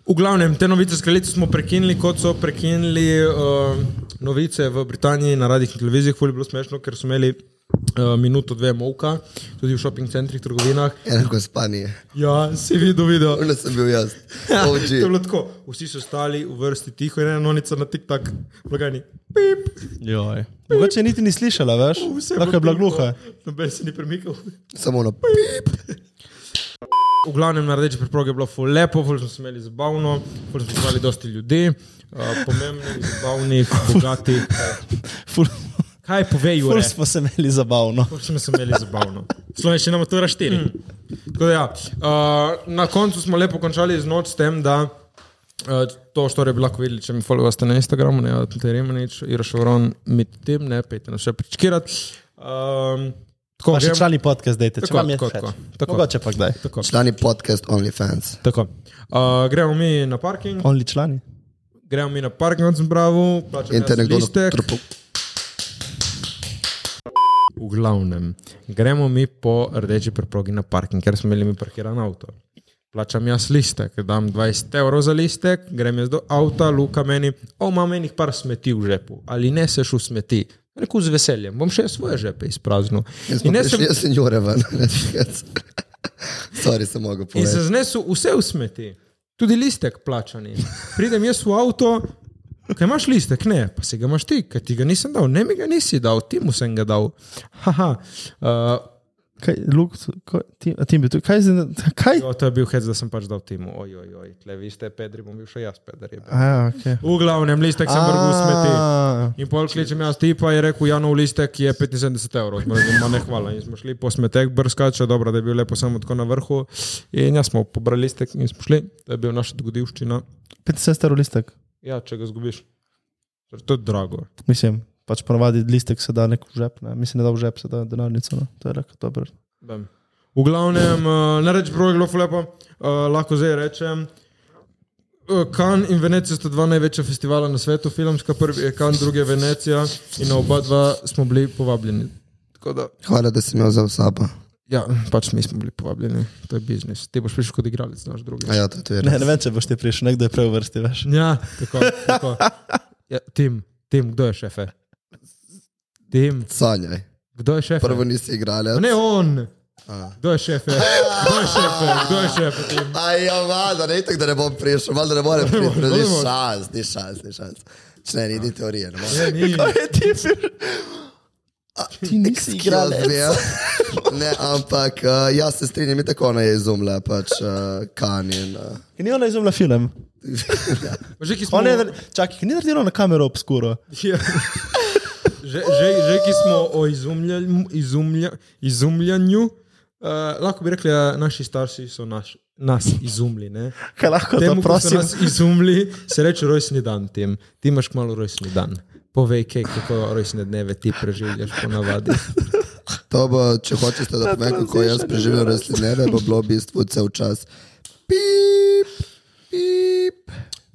Speaker 1: V glavnem, te novice s kraljico smo prekinili, kot so prekinili uh, novice v Britaniji na radijih in televizijah. Ful je bilo smešno, ker so imeli uh, minuto, dve molka, tudi v šoping centrih, trgovinah.
Speaker 4: Enako spanje.
Speaker 1: Ja, si videl video.
Speaker 4: Ule sem bil jaz.
Speaker 1: Ja, *laughs* to
Speaker 4: OG.
Speaker 1: je bilo tako. Vsi so stali v vrsti tiho in ena nonica na tik-tak, blagajni. Pip,
Speaker 3: Joj. Mogoče niti ni slišala, veš?
Speaker 1: Uh, vse
Speaker 3: Lahko je bila gluha.
Speaker 1: Noben se ni premikal.
Speaker 4: Samo na pip.
Speaker 1: V glavnem na rdeči preprogi je bilo ful lepo, ful smo se imeli zabavno, ful smo imeli dosti ljudi, uh, pomembnih, zabavnih, bogatih.
Speaker 3: Ful,
Speaker 1: Kaj povej,
Speaker 3: ful
Speaker 1: Jure?
Speaker 3: smo se imeli zabavno.
Speaker 1: Ful smo se imeli zabavno. Slovenščina matura 4. Mm. Tako da Ja, uh, na koncu smo lepo končali z noč s tem, da uh, to, što bi lahko videli, če mi followate na Instagramu, ne Terem, nič, Iraš Voron, mi tem, ne, pejte nas še prečkirati. Um, tako,
Speaker 3: Pa še
Speaker 1: gremo-
Speaker 3: člani podcast dajte, če
Speaker 1: Tako,
Speaker 3: vam je
Speaker 1: tako,
Speaker 3: všeč.
Speaker 1: tako, tako.
Speaker 3: Mogoče pa kdaj.
Speaker 1: tako.
Speaker 4: Člani podcast OnlyFans.
Speaker 1: tako. Uh, gremo mi na parking,
Speaker 3: Only člani.
Speaker 1: gremo mi na parking, on sem bravo, plačamo
Speaker 4: In te nekdo na
Speaker 1: listek.
Speaker 4: trpu.
Speaker 1: V glavnem, gremo mi po rdeči preprogi na parking, ker smo imeli mi parkiran avto. Plačam jaz listek, dam 20 evrov za listek, grem jaz do avta, Luka meni, o, imam enih par smeti v žepu, ali ne seš v smeti. Rekel z veseljem, bom še jaz svoje žepe izpraznil.
Speaker 4: Jaz
Speaker 1: In,
Speaker 4: sem
Speaker 1: jaz sem,
Speaker 4: prišel, jaz sem Jure ven. Sorry, sem mogel
Speaker 1: in se
Speaker 4: povedati.
Speaker 1: znesel vse v smeti, tudi listek plačani. Pridem jaz v avto, kaj imaš listek, ne, pa si ga imaš ti, ker ti ga nisem dal, ne mi ga nisi dal, ti mu sem ga dal. Haha, uh,
Speaker 3: Kaj, Luk, ko, tim, a tim bi tu, kaj zdaj, kaj?
Speaker 1: Jo, to je bil hec, da sem pač dal temu, ojoj, oj, tle vi ste pedri, bom bil še jaz pedri.
Speaker 3: A, ja, ok.
Speaker 1: V glavnem, listek sem vrgul v smeti. In pol kličem jaz tipa in rekel, Janov listek je 75 evrov, Smo rekli, "Ma ne hvala. In smo šli po smetek brskati, še dobro, da je bil lepo samo tako na vrhu. In jaz smo pobrali listek in smo šli, to je bil naša dogodivščina.
Speaker 3: 75 starov listek,
Speaker 1: Ja, če ga zgubiš. Ker To je drago.
Speaker 3: mislim, pač ponavadi listek se da nek v žep, ne? mislim, da da v žep se da denarnico, no? to je lahko dobro.
Speaker 1: Bem. V glavnem, uh, ne rečem, bilo je zelo lepo, uh, lahko zdaj rečem. Kan in Venecija sta dva največja festivala na svetu, filmska, prvi je Kan, drugi je Venecija in na oba dva smo bili povabljeni. Tako da,
Speaker 4: Hvala, da si me vzel s sabo.
Speaker 1: ja, pač mi smo bili povabljeni, to je biznis. Ti boš prišel kot igralec, znaš drugi.
Speaker 4: A ja, to je tudi
Speaker 3: Ne,
Speaker 4: res.
Speaker 3: ne vem, če boš ti prišel, nekdo je prej v vrsti, *laughs* veš.
Speaker 1: Ja, tako. tako. Ja, tim, tim, kdo je šefe? Tim,
Speaker 4: Sanjaj.
Speaker 1: kdo je šefe?
Speaker 4: Prvo nisi igralec.
Speaker 1: Ne on! Kdo je šefe? Kdo je šefe? Kdo je šefe? Tim?
Speaker 4: Aj, ja, valjda, ne tako, da ne bom prišel, valjda ne morem priti,
Speaker 1: moreš,
Speaker 4: ni
Speaker 1: ne moreš.
Speaker 4: šans, ni šans, ni šans. Če ne, ni ni teorije, ne morem.
Speaker 1: Ne, ni.
Speaker 3: Ti nisi igral.
Speaker 4: Ne, ampak uh, jaz se strinjam, in tako ona je izumila, pač uh, kanjen. Uh.
Speaker 3: Ni ona izumila film.
Speaker 1: Že ki smo
Speaker 3: Ona je, nar- čakaj, ni naredila na kamero obskuro.
Speaker 1: Ja. *laughs* Že, že, že ki smo o izumljanju, izumlja, izumljanju uh, lahko bi rekli, da naši starši so naš, nas izumili.
Speaker 3: *laughs*
Speaker 1: Ne?
Speaker 3: Kaj lahko to
Speaker 1: Temu, ki so
Speaker 3: prosim?
Speaker 1: nas izumili, se reče rojstni dan. Tim. Ti imaš kmalo rojstni dan. Povej, kaj, kako rojstne dneve ti preživljaš po
Speaker 3: *laughs*
Speaker 1: navadi.
Speaker 4: To bo, če hočeš, da povem, kako jaz preživljam rojstne dneve, bo bilo v bistvu cel čas. Pip,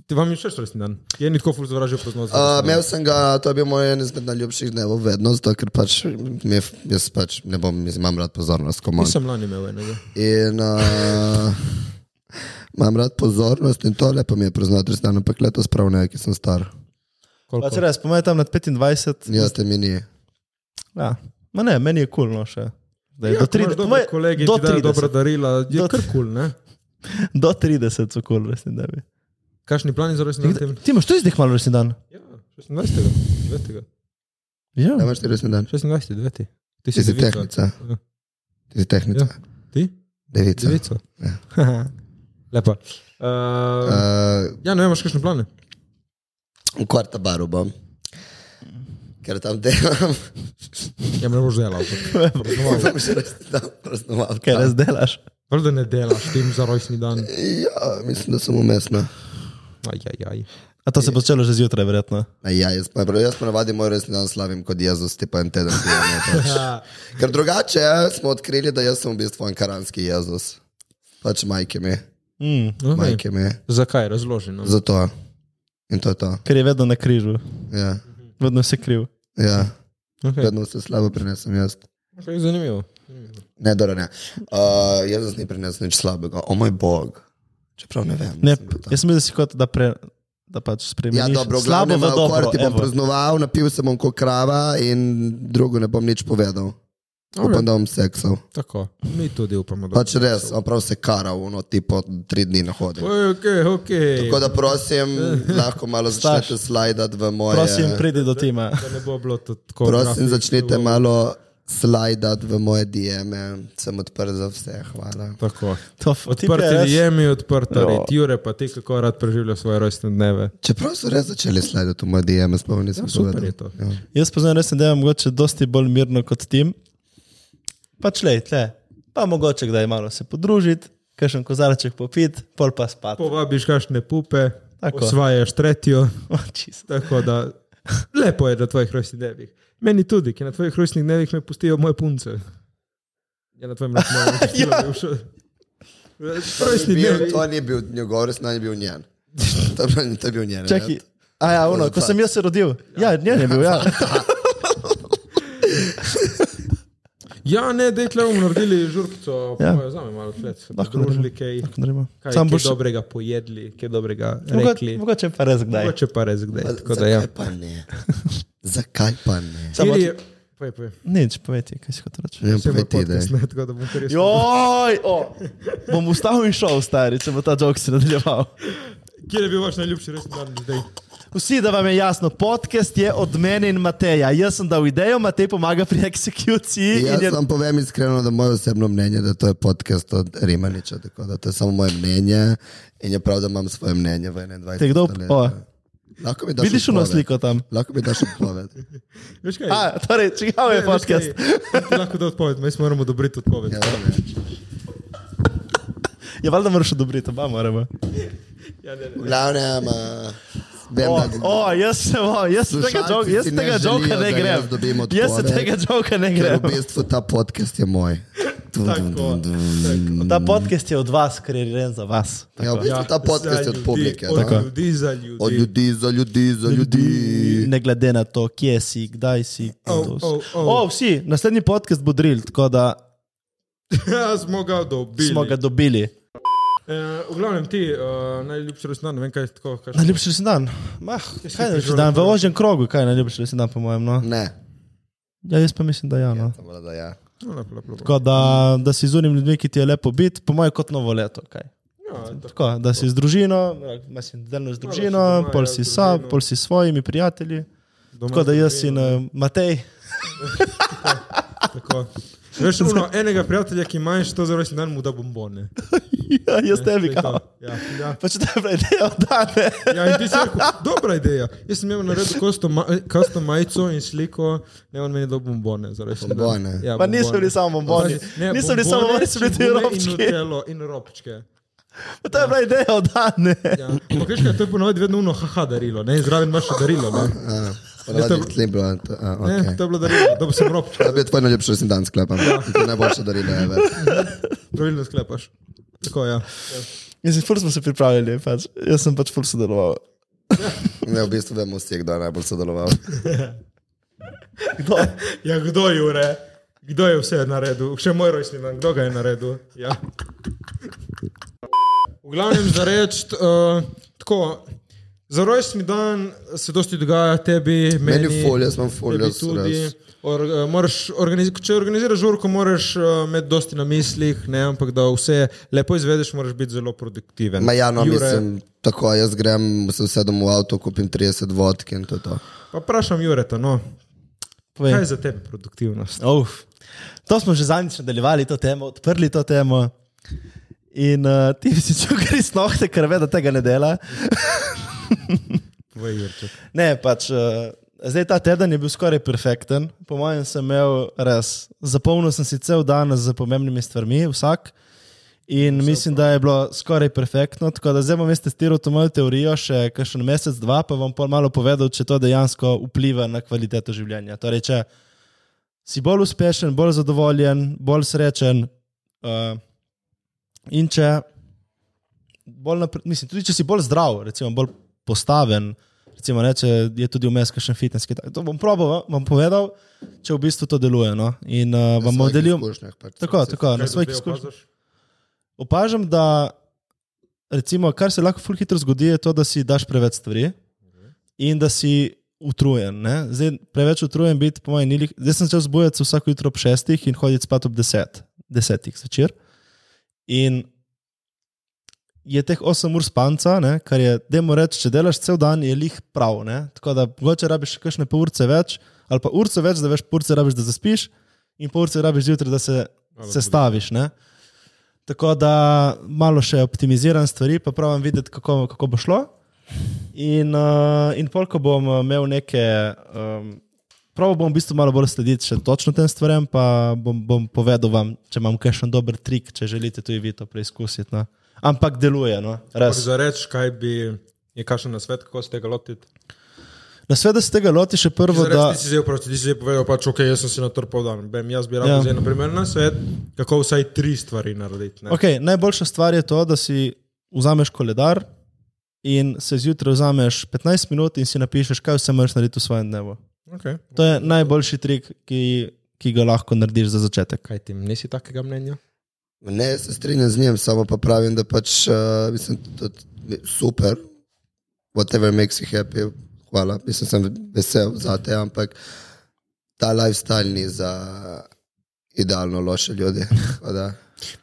Speaker 1: Ti vam je všeč rojstni dan? Je ni tako ful zavražil pozno.
Speaker 4: Uh, imel sem ga, to je bil moj en izmed najljubših dnevov, vedno, zato ker pač, mi, je- jaz pač ne bom, jaz imam rad pozornost, ko imam.
Speaker 1: Nisem lani imel enega.
Speaker 4: In uh, imam rad pozornost in tole pa mi je priznati, da sem ampak letos prav ne, ki sem star.
Speaker 1: Koliko?
Speaker 3: Pač res, pomeni tam nad 25.
Speaker 4: Ja, te mi ni.
Speaker 3: Ja. Ma ne, meni je kulno cool, no, še.
Speaker 1: Ja,
Speaker 3: Zdaj, do
Speaker 1: ko imaš
Speaker 3: 30,
Speaker 1: dobre
Speaker 3: moje-
Speaker 1: kolegi,
Speaker 3: do
Speaker 1: ti dajo
Speaker 3: 30,
Speaker 1: dobra darila, je
Speaker 3: Do-
Speaker 1: kar kul, ne?
Speaker 3: do 30 so kul, cool, resni dnevi.
Speaker 1: Kakšni plani za rojstni dan?
Speaker 3: Nikdaj- Ti imaš tudi zdaj malo resni dan?
Speaker 1: Ja, 26. 9.
Speaker 3: Ja.
Speaker 4: Ja, imaš 40 dan.
Speaker 1: 26. 9. Ti
Speaker 4: Ti si
Speaker 1: devica.
Speaker 4: tehnica.
Speaker 1: Ja.
Speaker 4: Ti si tehnica.
Speaker 1: Ja. Ti?
Speaker 4: Devica. Ja.
Speaker 1: Devica. *laughs* Lepa. Uh,
Speaker 4: Uh,
Speaker 1: ja, ne vem, imaš kakšne plane?
Speaker 4: v kvarta baru bom. Ker tam delam, *laughs*
Speaker 1: Ja, me ne boš delal. ampak-
Speaker 4: bom še res tam praznoval.
Speaker 3: Kaj res delaš?
Speaker 1: Prav, da ne delaš tim za rojstni dan.
Speaker 4: Ja, mislim, da sem umestna.
Speaker 1: Aj, aj, aj.
Speaker 3: A to se bo začelo že zjutraj, verjetno.
Speaker 4: A Ja, jaz pa jaz ponavadi moj resni dan slavim kot Jezus, ti pa en teden pijem. ne,
Speaker 1: *laughs*
Speaker 4: Pač.
Speaker 1: Eh,
Speaker 4: Ker drugače eh, smo odkrili, da jaz sem v bistvu ankaranski Jezus. Pač majke mi,
Speaker 3: Mm,
Speaker 1: Okay.
Speaker 4: majke mi.
Speaker 1: Zakaj? Razloži nam.
Speaker 4: Zato. In to je to.
Speaker 3: ker je vedno na križu,
Speaker 4: Ja,
Speaker 3: vedno se kriv.
Speaker 4: ja.
Speaker 1: Okay.
Speaker 4: vedno se slabo prinesem jaz.
Speaker 1: Okay, zanimivo.
Speaker 4: Ne, dobro, ne. Uh, Jezus ni prinesel nič slabega, o moj bog. Čeprav ne vem.
Speaker 3: Ne,
Speaker 4: mislim,
Speaker 3: jaz
Speaker 4: da-
Speaker 3: mislim, da si kot da, pre, da pač spremeniš.
Speaker 4: Ja, dobro,
Speaker 3: slabo
Speaker 4: slabo
Speaker 3: v
Speaker 4: bom
Speaker 3: dobro.
Speaker 4: ti bom
Speaker 3: evo.
Speaker 4: praznoval, napil se bom kot krava in drugo ne bom nič povedal. Upam, da bom seksal.
Speaker 1: Tako, mi tudi upamo. da-
Speaker 4: Pač res, on prav se kara, ono tipo tri dni na hodu.
Speaker 1: Oj, ok, ok.
Speaker 4: Tako da
Speaker 3: *laughs*
Speaker 4: prosim, lahko malo
Speaker 3: Staš.
Speaker 4: začnete slajdati v moje.
Speaker 3: Prosim, no. pridi do tima.
Speaker 1: Da ne bo bilo to tako. grafično.
Speaker 4: prosim začnite malo slajdati v moje DM-e, sem odprt za vse, hvala.
Speaker 1: Tako.
Speaker 3: To
Speaker 1: Odprti
Speaker 3: je.
Speaker 1: jemi, odprta red. Jure, pa ti kako rad preživlja svoje rojstne dneve.
Speaker 4: Čeprav so res začeli slajdati v moje DM-e, spomnim se,
Speaker 1: Ja, super je to.
Speaker 3: Jaz poznam res, da je mogoče dosti bolj mirno kot tim. Pač le, tle. Pa mogoče kdaj malo se podružiti, kakšen kozarček popiti, pol pa spati. *laughs*
Speaker 1: Povabiš kašne pupe,
Speaker 3: Tako.
Speaker 1: osvajaš tretjo.
Speaker 3: Oh, čisto.
Speaker 1: Tako da *laughs* lepo je na tvojih rojstnih dnevih. Meni tudi, ki na tvojih rojstnih dnevih me pustijo moje punce. Ja, na tvojem rojstnem *laughs* dnevu. me pustila bivša. Rojstni dnevi.
Speaker 4: To ni bil njegov, res naj bil njen. *laughs* To je bil- To je bil njen.
Speaker 3: Čakaj. A ja, ono, ko sem jaz se rodil. Ja, njen je bil,
Speaker 1: *laughs*
Speaker 3: ja.
Speaker 1: Ja, ne, dekle bomo naredili žurkico,
Speaker 3: Ja.
Speaker 1: ja. zame malo klet,
Speaker 3: Lahko
Speaker 1: družili kaj, kaj
Speaker 3: Sam
Speaker 1: Sam
Speaker 3: boš
Speaker 1: boš dobrega pojedli, kaj dobrega
Speaker 3: mogoče,
Speaker 1: rekli.
Speaker 3: mogoče pa res kdaj.
Speaker 1: Mogoče pa res kdaj. Tako da
Speaker 4: Zakaj
Speaker 1: ja.
Speaker 4: pa ne? Zakaj pa ne?
Speaker 3: Samo
Speaker 1: Kjer je- Povej, povej.
Speaker 3: Nič, povedi, kaj si kot reče.
Speaker 4: Ne,
Speaker 1: Vse bo
Speaker 4: povej ti, da je.
Speaker 1: podcast, ne, tako da bom kar jaz.
Speaker 3: Joj, o, bom ustavil in šel, stari, če bo ta jok se nadaljeval.
Speaker 1: Kje je bil vaš najljubši rojstni dan zdaj?
Speaker 3: Vsi, da vam je jasno, podcast je od mene in Mateja. Jaz sem dal idejo, Matej pomaga pri eksekuciji. in
Speaker 4: Jaz
Speaker 3: Je...
Speaker 4: vam povem iskreno, da je moje osebno mnenje, da to je podcast od Rimaniča, tako da to je samo moje mnenje in je prav, da imam svoje mnenje v 21.
Speaker 3: Te kdo-
Speaker 4: stoletju.
Speaker 3: o.
Speaker 4: Lahko mi daš
Speaker 3: Vidiš uno
Speaker 4: odpoved.
Speaker 3: sliko tam?
Speaker 4: Lahko mi daš odpoved.
Speaker 1: Veš kaj?
Speaker 3: A, torej, čigav
Speaker 1: Ne,
Speaker 3: je
Speaker 1: veš
Speaker 3: podcast?
Speaker 1: kaj? *laughs* Ti Lahko da odpoved, mi moramo odobriti odpoved.
Speaker 4: Ja,
Speaker 1: Ja.
Speaker 4: ne.
Speaker 3: Je valjda moraš odobriti, oba moramo.
Speaker 1: Ja, ne, ne.
Speaker 4: V glavnem, uh, vem,
Speaker 3: O,
Speaker 4: da
Speaker 3: o, jaz se, o, jaz se tega
Speaker 4: Slušalci
Speaker 3: joka- jaz
Speaker 4: si
Speaker 3: se
Speaker 4: ne
Speaker 3: tega joka
Speaker 4: želijo,
Speaker 3: ne
Speaker 4: da
Speaker 3: grem.
Speaker 4: jaz dobim
Speaker 3: Jaz se
Speaker 4: odpoved,
Speaker 3: tega joka ne
Speaker 4: ker
Speaker 3: grem.
Speaker 4: v bistvu ta podcast je moj. Dum,
Speaker 1: Tako,
Speaker 4: dum, dum, dum.
Speaker 1: tako.
Speaker 3: Ta podcast je od vas, ker je rejen za vas.
Speaker 4: Ja, v bistvu ta podcast je
Speaker 1: za
Speaker 4: od
Speaker 1: ljudi,
Speaker 4: publike.
Speaker 1: Od
Speaker 4: no.
Speaker 1: ljudi za ljudi.
Speaker 4: Od ljudi, za ljudi, za ljudi.
Speaker 3: Ne glede na to, kje si, kdaj si.
Speaker 1: Oh,
Speaker 3: kdo si.
Speaker 1: oh, oh. *laughs*
Speaker 3: O, vsi, naslednji podcast bo drill, tako da
Speaker 1: Ja, smo ga dobili.
Speaker 3: smo ga dobili.
Speaker 1: Eh, v glavnem ti, uh, najljubši resno, ne vem kaj je tako. Kaj
Speaker 3: Najljubši rojstni dan. Mah, kaj je najljubši dan? V ožjem krogu, kaj je najljubši rojstni dan, po mojem. No?
Speaker 4: Ne,
Speaker 3: Ja, jaz pa mislim, da ja. No.
Speaker 4: samo da ja.
Speaker 1: No, lepo, lepo, lepo.
Speaker 3: Tako da, da si z unim ljudmi, ki ti je lepo biti, po mojem, kot novo leto. Kaj.
Speaker 1: Ja, tako.
Speaker 3: Tako, da si z družino, mislim, delno z
Speaker 1: si
Speaker 3: družino,
Speaker 1: doma,
Speaker 3: pol
Speaker 1: ja,
Speaker 3: si
Speaker 1: z
Speaker 3: sam,
Speaker 1: družino.
Speaker 3: pol si s svojimi prijatelji.
Speaker 1: Doma
Speaker 3: Tako da jaz
Speaker 1: zdravimo,
Speaker 3: in uh, Matej. *laughs*
Speaker 1: Tako. Veš, ono, enega prijatelja, ki imaš to za rojstni dan, mu da bombone.
Speaker 3: ja, jaz tebi,
Speaker 1: To je to.
Speaker 3: kao.
Speaker 1: Ja, ja.
Speaker 3: Pa če te prejdejo, da ne.
Speaker 1: Ja, in ti si rekel, dobra ideja. Jaz sem imel na redu kastno majico in sliko, ne on meni do bombone. za rojstni dan.
Speaker 4: Bombone.
Speaker 1: Ja,
Speaker 3: Pa niso
Speaker 1: bombone.
Speaker 3: bili samo bomboni.
Speaker 1: Pazi, ne,
Speaker 3: Niso bili samo
Speaker 1: bombone,
Speaker 3: oni, so bili tudi
Speaker 1: čebule In
Speaker 3: robčki.
Speaker 1: nutelo in robčke.
Speaker 3: Pa to je bila ideja, da ne.
Speaker 1: Ja. Ampak veš kaj, to je ponovadi vedno uno haha darilo, ne? In Zraven imaš še darilo, ne?
Speaker 4: Ponavadi
Speaker 1: to- ja.
Speaker 4: tli bilo, to- a,
Speaker 1: ne
Speaker 4: okej.
Speaker 1: To Ja. je bilo darilo, da bi sem robčke.
Speaker 4: To je bil tvoj najljubši rojstni dan, sklepam. To je najboljše darilo, je več.
Speaker 1: Pravilno sklepaš. Tako, ja. ja.
Speaker 3: Mislim, ful smo se pripravljali, pač. jaz sem pač ful sodeloval.
Speaker 4: Ne, v bistvu vemo, vsi, kdo je najbolj sodeloval.
Speaker 3: Kdo?
Speaker 1: Ja, kdo je ure? Kdo je vse naredil? Še moj rojstni dan, kdo ga je naredil? Ja. V glavnem za reči, uh, tako. Za rojstni dan se dosti dogaja tebi, meni,
Speaker 4: Meni ful, jaz imam ful,
Speaker 1: tebi
Speaker 4: jaz
Speaker 1: tudi.
Speaker 4: res.
Speaker 1: Or, eh, moraš organiz, če organiziraš žurko, moraš uh, imeti dosti na mislih, ne, ampak da vse lepo izvedeš, moraš biti zelo produktiven.
Speaker 4: Ma ja, no,
Speaker 1: Jure,
Speaker 4: mislim, tako, jaz grem, se usedem v avto, kupim 30 vodk in to je to.
Speaker 1: Pa vprašam Jureta, no, kaj
Speaker 3: Povej.
Speaker 1: je za tebe produktivnost?
Speaker 4: Ja.
Speaker 3: Uf. To smo že zadnjič nadaljevali to temo, odprli to temo. In uh, ti bi si čutil, ker res nohte, ker ve, da tega ne dela.
Speaker 1: Povej, Jurče.
Speaker 3: Ne, pač, uh, zdaj ta teden je bil skoraj perfekten, po mojem sem imel res. Zapolnil sem si cel dan z pomembnimi stvarmi, vsak. In Vse mislim, da je bilo skoraj perfektno. Tako da zdaj bom jaz testiral to mojo teorijo še kakšen mesec, dva, pa bom pol malo povedal, če to dejansko vpliva na kvaliteto življenja. Torej, če si bolj uspešen, bolj zadovoljen, bolj srečen. Uh, in če bolj napre, mislim, tudi če si bolj zdrav, recimo, bolj postaven, recimo, ne, če je tudi vmes kakšen fitness. ki ta- To bom probal, vam povedal, če v bistvu to deluje. No? In uh, vam bom delil.
Speaker 4: pač
Speaker 3: Tako,
Speaker 4: Ja,
Speaker 3: tako, na svojih izkušnjah. Opažam, da recimo, kar se lahko ful hitro zgodi, je to, da si daš preveč stvari in da si utrujen. Ne? Zdaj, preveč utrujen biti, po mojem, nilih. Zdaj sem začel zbujati se vsako jutro ob šestih in hoditi spat ob deset, desetih zvečer. In je teh 8 ur spanca, ne, kar je, da mu rečeš, če delaš cel dan, je lih prav. Ne? Tako da mogoče rabiš še kakšne pol urce več, ali pa urce več, da veš, pol urce rabiš, da zaspiš, in pol urce rabiš zjutraj, da se
Speaker 1: Ali
Speaker 3: sestaviš. Ne? Tako da malo še optimiziram stvari, pa pravim videti, kako, kako bo šlo. In, uh, in pol, ko bom uh, imel neke, um, prav bom v bistvu malo bolj slediti še točno tem stvarem, pa bom, bom povedal vam, če imam kakšen dober trik, če želite tudi vi to preizkusiti. No. Ampak deluje, no, res.
Speaker 1: Za reči, kaj bi, je kakšen nasvet, kako se tega lotiti?
Speaker 3: Na svet, da se tega loti, še prvo,
Speaker 1: Zares,
Speaker 3: da.
Speaker 1: ti si zdaj vprašal, ti si zdaj povedal, pač, ok, jaz sem si natrpal dan. Bem, jaz bi rad
Speaker 3: Ja.
Speaker 1: vzel ja. na primer na svet, kako vsaj tri stvari narediti. ne.
Speaker 3: Okay, najboljša stvar je to, da si vzameš koledar in se zjutraj vzameš 15 minut in si napišeš, kaj vse moraš narediti v svojem dnevu.
Speaker 1: Okay.
Speaker 3: To je najboljši trik, ki, ki ga lahko narediš za začetek.
Speaker 1: Kaj ti, nisi takega mnenja?
Speaker 4: Ne, jaz se strinjam z njim, samo pa pravim, da pač, uh, mislim, tudi super, whatever makes you happy, hvala, mislim, sem vesel za te, ampak ta lifestyle ni za idealno loše ljudi. *laughs* Tako da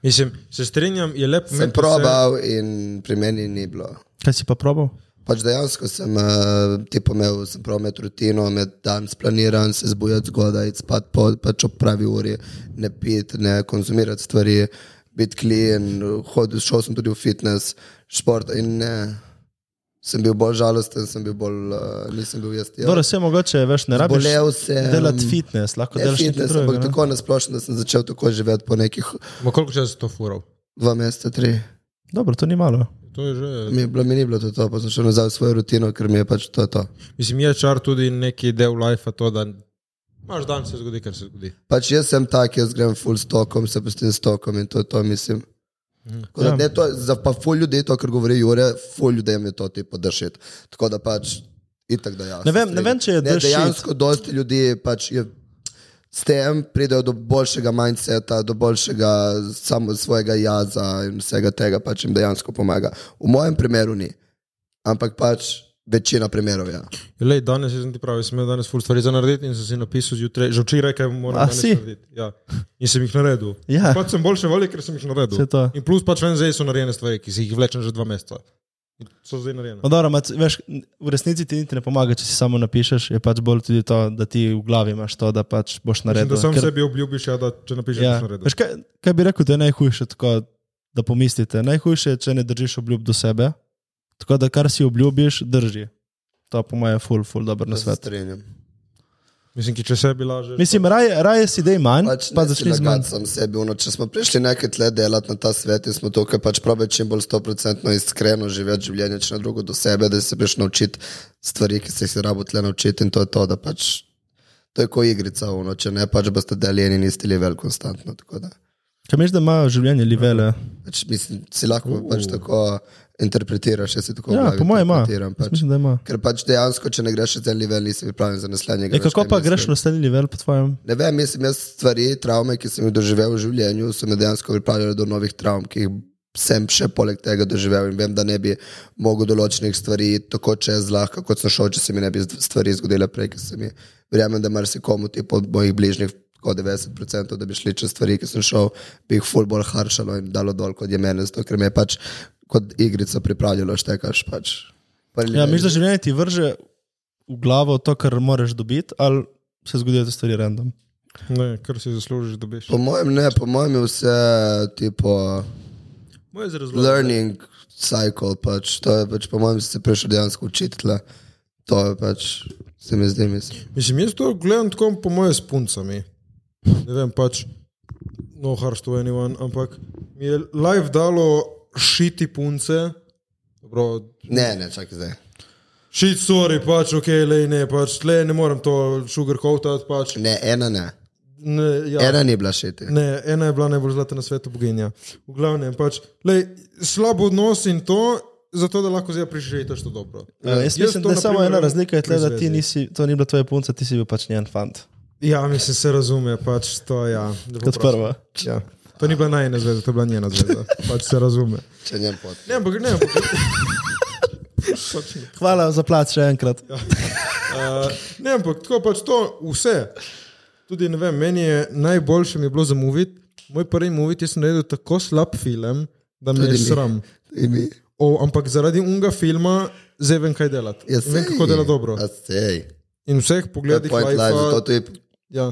Speaker 1: Mislim, se strinjam, je lepo
Speaker 4: Sem probal in pri meni ni bilo.
Speaker 3: Kaj si pa probal?
Speaker 4: Pač dejansko sem, eh, tipo, imel, sem prav med rutino, med dan splaniran, se zbujati zgodaj, iti spat po pač ob pravi uri, ne piti, ne konzumirati stvari, biti klien, hodil, šel sem tudi v fitness, šport in ne. Sem bil bolj žalosten, sem bil bolj, eh, nisem bil jaz. ja.
Speaker 3: Dobro, vse mogoče, veš, ne rabiš
Speaker 4: Zbolel sem.
Speaker 3: delati fitness, lahko
Speaker 4: Ne
Speaker 3: delaš nekaj
Speaker 4: ja, fitness, ampak
Speaker 3: drugega. ne?
Speaker 4: tako nasplošno, da sem začel tako živeti po nekih
Speaker 1: Ma koliko časa si to fural?
Speaker 4: dva meseca, tri.
Speaker 3: Dobro, to ni malo.
Speaker 1: To je že.
Speaker 4: Mi, je bilo, mi ni bilo to, to, pa sem šel nazaj v svojo rutino, ker mi je pač to. to.
Speaker 1: Mislim, je čar tudi neki del lajfa to, da imaš dan, se zgodi, kar se zgodi.
Speaker 4: Pač jaz sem tak, jaz grem full stokom, se pustim stokom in to je to, mislim. Tako Da,
Speaker 3: Ja.
Speaker 4: ne, to, je- za pa full ljudi, to, kar govori Jure, full ljudem je to tipo držati. Tako da pač itak da jaz.
Speaker 3: Ne vem- ne vem, če je
Speaker 4: ne,
Speaker 3: drž shit.
Speaker 4: Dejansko dosti ljudi pač je. S tem pridejo do boljšega mindseta, do boljšega samo svojega jaza in vsega tega, pač jim dejansko pomaga. V mojem primeru ni, ampak pač večina primerov je. Ja.
Speaker 1: Lej, danes jaz sem ti pravi, sem imel danes ful stvari za narediti in sem si napisal zjutraj, že včeraj, kaj moram
Speaker 3: A,
Speaker 1: danes
Speaker 3: si?
Speaker 1: narediti. Ja. In sem jih naredil.
Speaker 3: Ja.
Speaker 1: Pač sem boljše volje, ker sem jih naredil.
Speaker 3: Saj to.
Speaker 1: In plus pač vem, zdaj so narejene stvari, ki si jih vlečem že dva meseca. In So zdaj narejene.
Speaker 3: No, dobro, mat, veš, v resnici ti niti ne pomaga, če si samo napišeš, je pač bolj tudi to, da ti v glavi imaš to, da pač boš
Speaker 1: Mislim,
Speaker 3: naredil.
Speaker 1: da sam
Speaker 3: Ker-
Speaker 1: Ker... sebi obljubiš, ja, da če napišeš, da
Speaker 3: Ja.
Speaker 1: si naredil.
Speaker 3: Veš, kaj, kaj bi rekel, da je najhujše, tako, da pomislite? Najhujše je, če ne držiš obljub do sebe. Tako da kar si obljubiš, drži. To po mojem je ful, ful dober na svet.
Speaker 4: strinjam.
Speaker 1: Mislim, ki če sebi lažeš.
Speaker 3: Mislim, raje, raje si dej manj,
Speaker 4: Pač
Speaker 3: pač, pa začni z manj.
Speaker 4: Sam sebi, ono, če smo prišli nekaj tle delati na ta svet in smo tukaj pač probe čim bolj stoprocentno iskreno živeti življenje, če ne drugo do sebe, da se veš naučiti stvari, ki se jih je rabo tle naučiti in to je to, da pač to je kot igrica, ono, če ne pač boste deljeni in isti level konstantno. tako da.
Speaker 3: Kaj misliš, da ima življenje livele?
Speaker 4: Pač, mislim, si lahko pač tako interpretiraš, jaz si tako v
Speaker 3: Ja,
Speaker 4: glavi
Speaker 3: po mojem ima.
Speaker 4: interpretiram,
Speaker 3: Jaz
Speaker 4: Pač.
Speaker 3: Mislim, da ima.
Speaker 4: Ker pač dejansko, če ne greš za en level, nisi pripravljen za
Speaker 3: E,
Speaker 4: naslednjega. veš,
Speaker 3: kako
Speaker 4: kaj
Speaker 3: pa
Speaker 4: mislim.
Speaker 3: greš na naslednji level po tvojem?
Speaker 4: Ne vem, mislim, jaz stvari, travme, ki sem jih doživel v življenju, so me dejansko pripravljale do novih travm, ki jih sem še poleg tega doživel in vem, da ne bi mogel določenih stvari tako čez lahko, kot sem šel, če se mi ne bi stvari zgodile prej, ker sem jih. Verjamem, da marsikomu ti od mojih bližnjih, kot 90%, da bi šli čez stvari, ki sem šel, bi jih ful bolj haršalo in dalo dol, kot je meni, zato ker me je pač kot igrico pripravljalo, štekaš pač. Prvi
Speaker 3: Ja,
Speaker 4: level.
Speaker 3: misliš, da življenje ti vrže v glavo to, kar moraš dobiti, ali se zgodijo te stvari random?
Speaker 1: Ne, kar si zaslužiš, da biš.
Speaker 4: Po mojem ne, po mojem je vse tipo...
Speaker 1: Moj razlog.
Speaker 4: learning cycle, pač to je pač, po mojem, si se prišel dejansko učiti. Tle. To je pač, se mi zdi, mislim.
Speaker 1: Mislim, jaz to gledam tako, po moje, s puncami. Ne vem, pač, no, harsh to anyone, ampak mi je life dalo šiti punce. Dobro,
Speaker 4: Ne, ne, čakaj zdaj.
Speaker 1: šit, sorry, pač, ok, le ne, pač, le ne morem to sugarcoatati, pač.
Speaker 4: Ne, ena ne.
Speaker 1: Ne, ja.
Speaker 4: Ena ni bila šiti.
Speaker 1: Ne, ena je bila najbolj zlata na svetu, boginja. V glavnem, pač, lej, slab odnos in to, zato da lahko zdaj priširitaš to dobro.
Speaker 3: Ja, jaz mislim,
Speaker 1: to,
Speaker 3: da je
Speaker 1: na
Speaker 3: samo
Speaker 1: primer,
Speaker 3: ena razlika, je tle,
Speaker 1: pri
Speaker 3: da ti
Speaker 1: zvezi.
Speaker 3: nisi, to ni bila tvoja punca, ti si bil pač njen fant.
Speaker 1: Ja, mislim, se razume, pač to je. Ja, da bo
Speaker 3: Kot
Speaker 1: prosto.
Speaker 3: prva.
Speaker 1: Ja. To ni bila najna zveza, to je bila njena
Speaker 3: *laughs*
Speaker 1: zveza. Pač se razume.
Speaker 4: Če njem pot.
Speaker 1: Ne, ampak ne. Ampak,
Speaker 3: Hvala za plat še enkrat. Ja.
Speaker 1: uh, ne, ampak tako pač to vse. Tudi ne vem, meni je najboljše mi je bilo zamuviti. Moj prvi muvit, jaz sem naredil tako slab film, da me
Speaker 4: Tudi
Speaker 1: je
Speaker 4: mi.
Speaker 1: sram.
Speaker 4: In mi.
Speaker 1: O, ampak zaradi unga filma zdaj vem, kaj delati.
Speaker 4: Ja,
Speaker 1: vem,
Speaker 4: sej.
Speaker 1: kako dela dobro.
Speaker 4: Ja, sej.
Speaker 1: In v vseh
Speaker 4: To je
Speaker 1: pogledih
Speaker 4: point life, zato
Speaker 1: lajfa,
Speaker 4: to je...
Speaker 1: ja,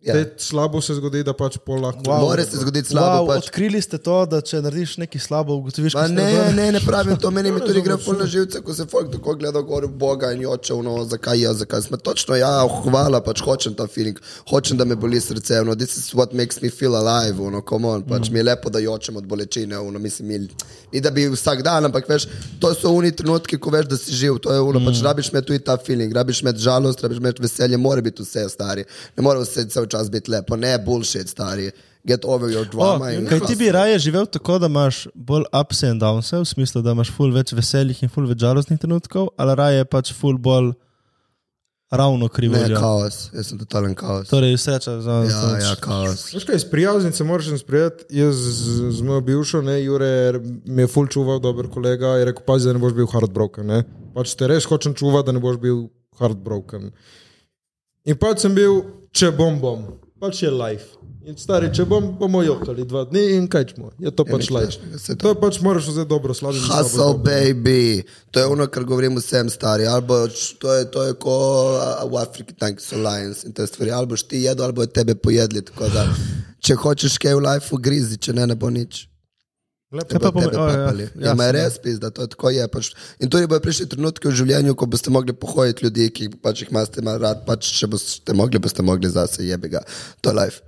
Speaker 4: Ja.
Speaker 1: ja. slabo se zgodi, da pač pol lahko.
Speaker 4: Wow. More se zgoditi slabo,
Speaker 3: Wow,
Speaker 4: pač.
Speaker 3: Odkrili ste to, da če narediš nekaj slabo, ugotoviš, kaj
Speaker 4: Ma
Speaker 3: si
Speaker 4: ne,
Speaker 3: naredil.
Speaker 4: ne, ne pravim to, meni
Speaker 3: *laughs*
Speaker 4: mi tudi gre ful na živce, ko se folk tako gleda gor v Boga in joče, no, zakaj jaz, zakaj sem. Točno, ja, hvala, pač hočem ta feeling, hočem, da me boli srce, no, this is what makes me feel alive, no, come on, pač
Speaker 3: Mm.
Speaker 4: mi je lepo, da jočem od bolečine, no, mislim, mi, ni da bi vsak dan, ampak veš, to so oni trenutki, ko veš, da si živ, to je ono,
Speaker 3: Mm.
Speaker 4: pač rabiš me tu in ta feeling, rabiš me žalost, rabiš me veselje, mora biti vse, stari, ne more vse cel čas biti lepo, ne, bullshit, stari, get over your
Speaker 3: O,
Speaker 4: drama.
Speaker 3: Oh,
Speaker 4: in-
Speaker 3: kaj ti bi raje živel tako, da imaš bolj ups and downs, v smislu, da imaš ful več veselih in ful več žalostnih trenutkov, ali raje pač ful bolj ravno
Speaker 4: Ne,
Speaker 3: krivulja.
Speaker 4: kaos, jaz sem totalen kaos.
Speaker 3: Torej, sreča za
Speaker 4: Ja, ja, kaos.
Speaker 1: Veš kaj, s prijaznicem moraš sprijeti. Jaz z, z mojo bivšo, ne, Jure, mi je ful čuval, dober kolega, je rekel, pazi, da ne boš bil heartbroken. Ne. Pač te res hočem čuvati, da ne boš bil heartbroken. In pač sem bil, če bom, bom. Pač je life. In stari, če bom, bomo jokali dva dni in kaj smo. Je to pač
Speaker 4: nič
Speaker 1: life.
Speaker 4: strašnega, saj to-
Speaker 1: To je pač moraš vzeti dobro, slabo. in slabo,
Speaker 4: Hustle,
Speaker 1: dobro.
Speaker 4: baby. To je ono, kar govorim vsem starim. Ali boš, to je, to je ko a, v Afriki, tanki so lions in te stvari. Ali boš ti jedel, ali bojo tebe pojedli. Tako da, če hočeš kaj v lifeu, grizi, če ne, ne bo nič.
Speaker 3: Kaj pa
Speaker 4: bojo
Speaker 3: pomen-
Speaker 4: tebe
Speaker 3: o, ja,
Speaker 4: papali. Ja,
Speaker 3: jasno,
Speaker 4: ma je
Speaker 3: ja.
Speaker 4: res pizda, to je tako je. Pač. In tudi bojo prišli trenutki v življenju, ko boste mogli pohojiti ljudi, ki jih pač jih imate mal rad, pač če boste mogli, boste mogli zase jebega. To je life.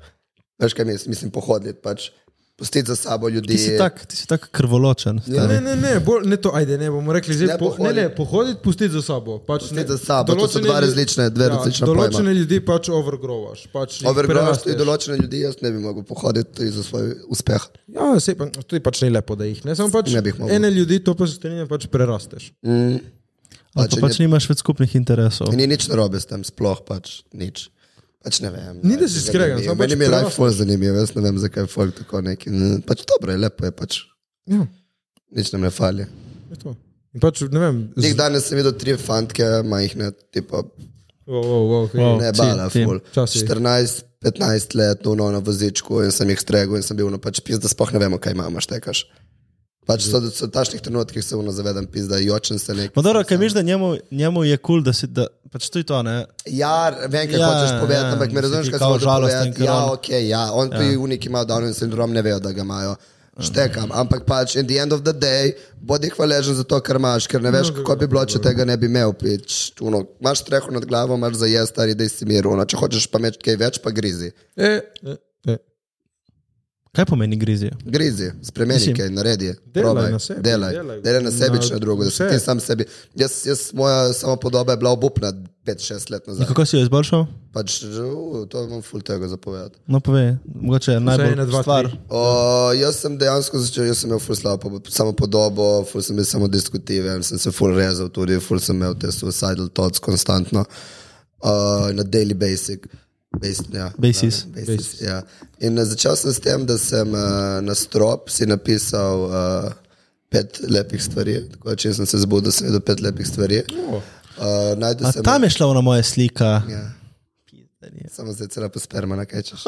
Speaker 4: Veš kaj mislim, mislim pohoditi pač. Pustiti za sabo ljudi.
Speaker 3: Ti si tak, ti si tak krvoločen.
Speaker 1: Ja,
Speaker 3: stari.
Speaker 1: Ne, ne, ne, bolj, ne to, ajde, ne bomo rekli, zdaj
Speaker 4: Ne
Speaker 1: ne, po, ne,
Speaker 4: pohoditi.
Speaker 1: ne pohoditi, pustiti za sabo. Pač,
Speaker 4: Pustiti
Speaker 1: ne,
Speaker 4: za sabo, to so
Speaker 1: določene
Speaker 4: dva
Speaker 1: ljudi-
Speaker 4: različne- dve različna pojma.
Speaker 1: Določene ljudi pač overgrovaš. Pač jih
Speaker 4: Overgrožen tudi
Speaker 1: prerasteš.
Speaker 4: določene ljudi, jaz ne bi mogel pohoditi tudi za svoj uspeh.
Speaker 1: Ja, sej pa, to je pač ni lepo, da jih ne. Samo pač
Speaker 4: Ne bi jih mogel.
Speaker 1: ene ljudi to pa se strinja, pač prerasteš.
Speaker 4: Mm.
Speaker 3: Ali
Speaker 4: Pač
Speaker 3: pa
Speaker 4: je
Speaker 3: pač nimaš več skupnih interesov.
Speaker 4: Ni nič narobe s tem, sploh pač nič. Pač ne vem.
Speaker 1: Ni, da si skregan, samo pač
Speaker 4: Meni mi je
Speaker 1: prerastel.
Speaker 4: life full zanimiv, jaz ne vem, zakaj je folk tako neki. Mm, Pač dobro je, lepo je pač.
Speaker 1: Ja,
Speaker 4: Nič nam ne fali.
Speaker 1: je to. In pač, ne vem,
Speaker 4: Nek danes sem videl tri fantke, majhne, tipo,
Speaker 1: Wow, wow, wow, okay.
Speaker 3: Wow.
Speaker 1: wow.
Speaker 4: ne
Speaker 3: Ti,
Speaker 4: bala,
Speaker 3: ti.
Speaker 4: full.
Speaker 1: Včasih.
Speaker 4: 14, 15 let, no, no, na vozičku in sem jih stregel in sem bil, no, pač pizda, sploh ne vemo, kaj imamo, štekaš. Pač so, so v tašnih trenutkih se uno zavedam, pizda, jočen se nek.
Speaker 3: Ma dobro, kaj misliš, da njemu, njemu je kul, cool, da si, da, pač to je to, ne?
Speaker 4: Ja, vem, kaj
Speaker 3: Ja,
Speaker 4: ja, hočeš povedati,
Speaker 3: ja,
Speaker 4: ja, ampak me
Speaker 3: da si
Speaker 4: razumeš,
Speaker 3: ti
Speaker 4: kaj
Speaker 3: kao
Speaker 4: hočeš
Speaker 3: žalosten,
Speaker 4: povedati.
Speaker 3: ker
Speaker 4: Ja,
Speaker 3: on-
Speaker 4: ok, ja, on ja. tudi unik ima Downov sindrom, ne vejo, da ga imajo. Štekam, ampak pač in the end of the day bodi hvaležen za to, kar imaš, ker ne veš, kako bi bilo, če tega ne bi imel. Pič, uno, imaš streho nad glavo, imaš za jesti, stari, da si mir. Uno. Če hočeš pa imeti kaj več, pa grizi.
Speaker 1: E, e, e.
Speaker 3: Kaj pomeni grizijo?
Speaker 4: Grizi, spremeni
Speaker 3: Mislim,
Speaker 4: kaj, naredi.
Speaker 1: delaj
Speaker 4: probaj,
Speaker 1: na sebi,
Speaker 4: Delaj,
Speaker 1: delaj.
Speaker 4: delaj na sebi,
Speaker 1: Na
Speaker 4: če na drugo, da si
Speaker 1: vse.
Speaker 4: ti sam sebi. Jaz, jaz moja samopodoba je bila obupna 5-6 let nazaj.
Speaker 3: Kako si jo izboljšal?
Speaker 4: Pač, uh, to imam ful tega zapovedati.
Speaker 3: No, povej, mogoče
Speaker 1: ene,
Speaker 3: najbolj
Speaker 1: dva, tri.
Speaker 3: stvar.
Speaker 4: O, jaz sem dejansko začel, jaz sem imel ful slabo po- samopodobo, ful sem bil samo diskutiven, sem se ful rezal tudi, ful sem imel te suicidal thoughts konstantno, uh, na daily basic. Based, ja,
Speaker 3: Basis.
Speaker 4: Ja, basis, Ja. In eh, začel sem s tem, da sem uh, na strop si napisal uh, pet lepih stvari, tako da če sem se zbudil, sem videl pet lepih stvari. Uh, najdel
Speaker 3: A
Speaker 4: sem
Speaker 3: tam je šla ona moja slika.
Speaker 4: Ja. Samo zdaj cela posperma, na kaj češ.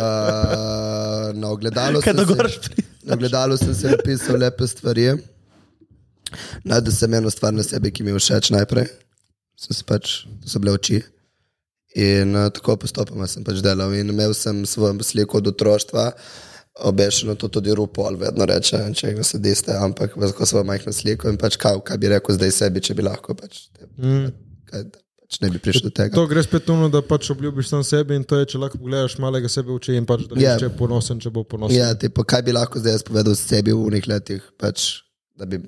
Speaker 4: Uh, na ogledalu
Speaker 3: Kaj
Speaker 4: sem
Speaker 3: da
Speaker 4: si-
Speaker 3: gor pri-
Speaker 4: Na ogledalu sem se napisal lepe stvari. Najdel sem eno stvar na sebi, ki mi je všeč najprej. Sem se pač, to so bile oči. In uh, tako postopoma sem pač delal. In imel sem svojo sliko od otroštva, obešeno to tudi rupol, vedno reče, če ga sediste, ampak lahko svojo majhno sliko in pač kaj, kaj bi rekel zdaj sebi, če bi lahko. Pač, mm. kaj, pač ne bi prišel do tega.
Speaker 1: To gre spet ono, da pač obljubiš sam sebe in to je, če lahko pogledaš malega sebe v oči in pač da veš,
Speaker 4: Ja.
Speaker 1: če je ponosen, če bo ponosen.
Speaker 4: Ja, tipo, kaj bi lahko zdaj jaz povedal sebi v nekih letih, pač, da bi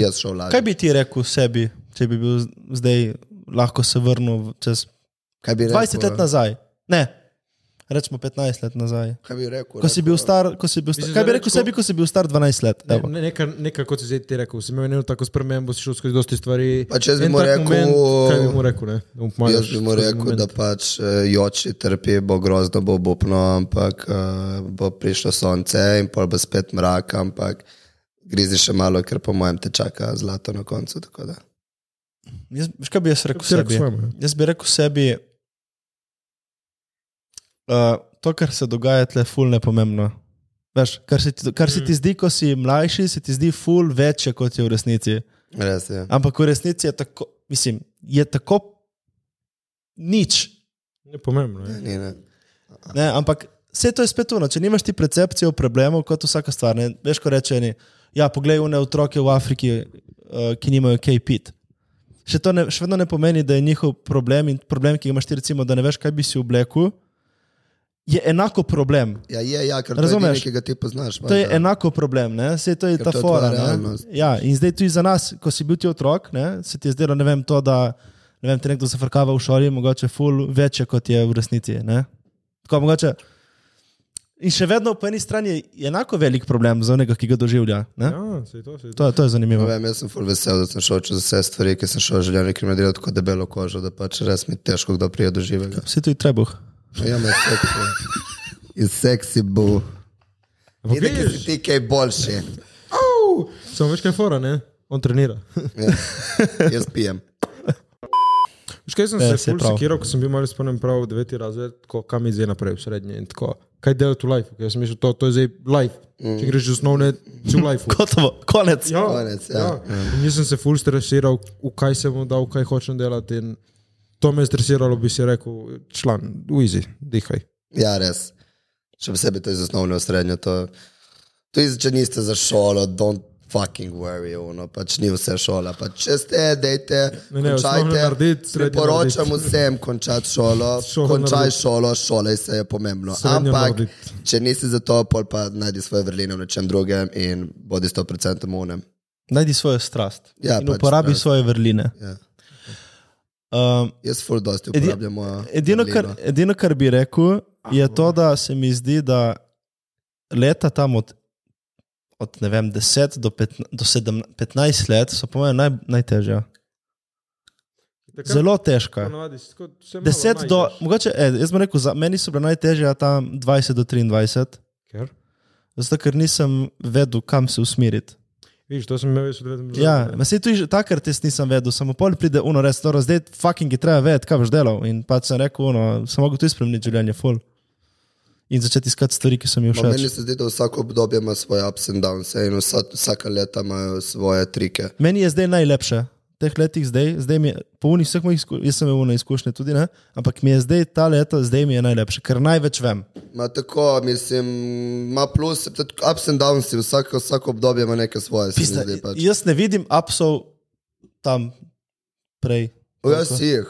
Speaker 4: jaz šel
Speaker 3: Mhm.
Speaker 4: lažje?
Speaker 3: Kaj bi ti rekel sebi, če bi bil z- zdaj lahko se vrnil v- čez
Speaker 4: Kaj bi
Speaker 3: 20 let nazaj? Ne, rečemo 15 let nazaj.
Speaker 4: Kaj bi rekel?
Speaker 3: Ko si bil star, ko si bil star,
Speaker 1: Mislim,
Speaker 3: kaj bi
Speaker 1: da
Speaker 3: rekel
Speaker 1: reč, ko-
Speaker 3: sebi, ko si bil star 12 let?
Speaker 1: Ne,
Speaker 3: Evo.
Speaker 1: ne, neka, neka, kot si zdaj ti rekel, si imel eno tako spremembo, si šel skozi dosti stvari.
Speaker 4: Pa če jaz bi
Speaker 1: En
Speaker 4: mu
Speaker 1: tak
Speaker 4: rekel-
Speaker 1: moment, Kaj bi mu rekel? Ne? Da mu pomagaš
Speaker 4: Jaz bi mu
Speaker 1: skozi
Speaker 4: rekel,
Speaker 1: moment.
Speaker 4: da pač eh, joči trpi, bo grozno, bo bupno, ampak eh, bo prišlo sonce in pol bo spet mrak, ampak grizi še malo, ker po mojem te čaka zlato na koncu. tako da.
Speaker 3: Jaz, veš, kaj bi jaz rekel
Speaker 1: Kaj bi rekel
Speaker 3: sebi?
Speaker 1: svojemu, ja?
Speaker 3: Jaz bi rekel sebi, uh, to, kar se dogaja, tle je ful nepomembno. Veš, kar se, ti, kar se
Speaker 1: Mm.
Speaker 3: ti zdi, ko si mlajši, se ti zdi ful večje, kot je v resnici.
Speaker 4: Res je.
Speaker 3: Ampak v resnici je tako, mislim, je tako nič.
Speaker 1: Ne pomembno. Je.
Speaker 4: Ni, ne.
Speaker 3: Ne, ampak vse to je spet ono. Če nimaš ti percepcije o problemu, kot vsaka stvar, ne, veš, ko rečeni, ja, poglej, une otroke v Afriki, uh, ki nimajo kaj pit. Še, to ne, še vedno ne pomeni, da je njihov problem in problem, ki ga imaš ti, recimo, da ne veš, kaj bi si oblekel, je enako problem.
Speaker 4: Ja, je, ja, ker
Speaker 3: Razumeš?
Speaker 4: razumeš, ki ga ti poznaš.
Speaker 3: To je
Speaker 4: valjda.
Speaker 3: enako problem, ne? sej to je
Speaker 4: Ker
Speaker 3: ta
Speaker 4: Ja, to je
Speaker 3: fora.
Speaker 4: tvoja
Speaker 3: ne.
Speaker 4: realnost.
Speaker 3: Ja, in zdaj tudi za nas, ko si bil ti otrok, ne? se ti je zdelo, ne vem, to, da ne vem, te nekdo zafrkava v šoli, mogoče ful večje, kot je v resnici. ne. Tako mogoče. In še vedno po eni strani je enako velik problem za onega, ki ga doživlja. Ja.
Speaker 1: Ja, saj to, saj to.
Speaker 3: To, to je zanimivo.
Speaker 4: Ne Vem, jaz sem ful vesel, da sem šel čez vse stvari, ki sem šel življenje, ker mi je delal tako debelo kožo, da pač res mi je težko, kdo prije do živega.
Speaker 3: Vsi tu je trebuh.
Speaker 4: Ja, me je seksi. Je seksi bo.
Speaker 1: Ampak
Speaker 4: Vidi, ki si
Speaker 1: No, vidiš,
Speaker 4: ti kaj boljši.
Speaker 1: au! Samo veš, kaj je fora, ne? On trenira.
Speaker 4: Ja. Jaz pijem.
Speaker 1: Veš, kaj sem
Speaker 3: Ja,
Speaker 1: se
Speaker 3: saj
Speaker 1: ful
Speaker 3: prav.
Speaker 1: sekiral, ko sem bil malo spomnim prav v deveti razred, tako, kam izve naprej v srednje in tako. Kaj delati v life? Jaz sem mislil, to, to je zdaj life.
Speaker 4: Mm.
Speaker 1: Če greš iz osnovne, si v life.
Speaker 3: Gotovo, konec.
Speaker 1: Ja,
Speaker 4: Konec, ja.
Speaker 1: In Jaz sem se ful stresiral, v kaj se bom dal, kaj hočem delati. In to me je stresiralo, bi si rekel, član, uizi, dihaj.
Speaker 4: Ja, res. Še posebej to iz osnovne v srednjo. To, to iz, če niste za šolo, don't fucking worry, ono, pač ni vse šola. Pač če ste, dejte,
Speaker 1: Ne, ne, osnovno narediti,
Speaker 4: končajte.
Speaker 1: srednjo
Speaker 4: Priporočam
Speaker 1: narediti.
Speaker 4: vsem končati šolo,
Speaker 1: Šolo
Speaker 4: končaj
Speaker 1: narediti.
Speaker 4: šolo, šola se je pomembno.
Speaker 1: Srednjo
Speaker 4: No, Ampak,
Speaker 1: narediti.
Speaker 4: če nisi za to, pol pa najdi svoje vrline v nečem drugem in bodi 100% unem.
Speaker 3: Najdi svojo strast
Speaker 4: Ja,
Speaker 3: in
Speaker 4: pač
Speaker 3: uporabi
Speaker 4: strast.
Speaker 3: svoje vrline.
Speaker 4: Ja.
Speaker 3: Um,
Speaker 4: Jaz ful dosti
Speaker 3: Edi-
Speaker 4: uporabljam mojo.
Speaker 3: Edino kar,
Speaker 4: vrlino.
Speaker 3: edino, kar bi rekel, je to, da se mi zdi, da leta tam od, od ne vem, 10 do, 15, do 17, 15 let so, po mojem, naj, najtežja. Zelo težka.
Speaker 1: Ponavadi si tako, vse malo
Speaker 3: 10 do,
Speaker 1: najdeš.
Speaker 3: mogoče, eh, jaz bom rekel, za, meni so bile najtežje tam 20 do 23,
Speaker 1: Ker?
Speaker 3: zato ker nisem vedel, kam se usmeriti.
Speaker 1: Viš, to sem imel jaz v devetem
Speaker 3: Ja, vse tu je že takrat, jaz nisem vedel, samo pol pride uno, res, to zdaj fucking je treba vedeti, kaj boš delal. In pač sem rekel, uno, sem mogel tu spremeniti življenje, full. In začeti iskati stvari, ki so mi
Speaker 4: Ma,
Speaker 3: všeč.
Speaker 4: Meni se zdi, da vsako obdobje ima svoje ups and downs in vsa, vsaka leta imajo svoje trike.
Speaker 3: Meni je zdaj najlepše, v teh letih zdaj, zdaj mi je, po unih vseh mojih izkušnjah, jaz sem imel uno izkušnje tudi, ne? ampak mi je zdaj ta leta, zdaj mi je najlepše, ker največ vem.
Speaker 4: Ma tako, mislim, ima plus, tudi ups and downs, vsako, vsako obdobje ima neke svoje. se mi
Speaker 3: Pista,
Speaker 4: zdi pač.
Speaker 3: jaz ne vidim apsov tam prej.
Speaker 4: O, Jaz jih,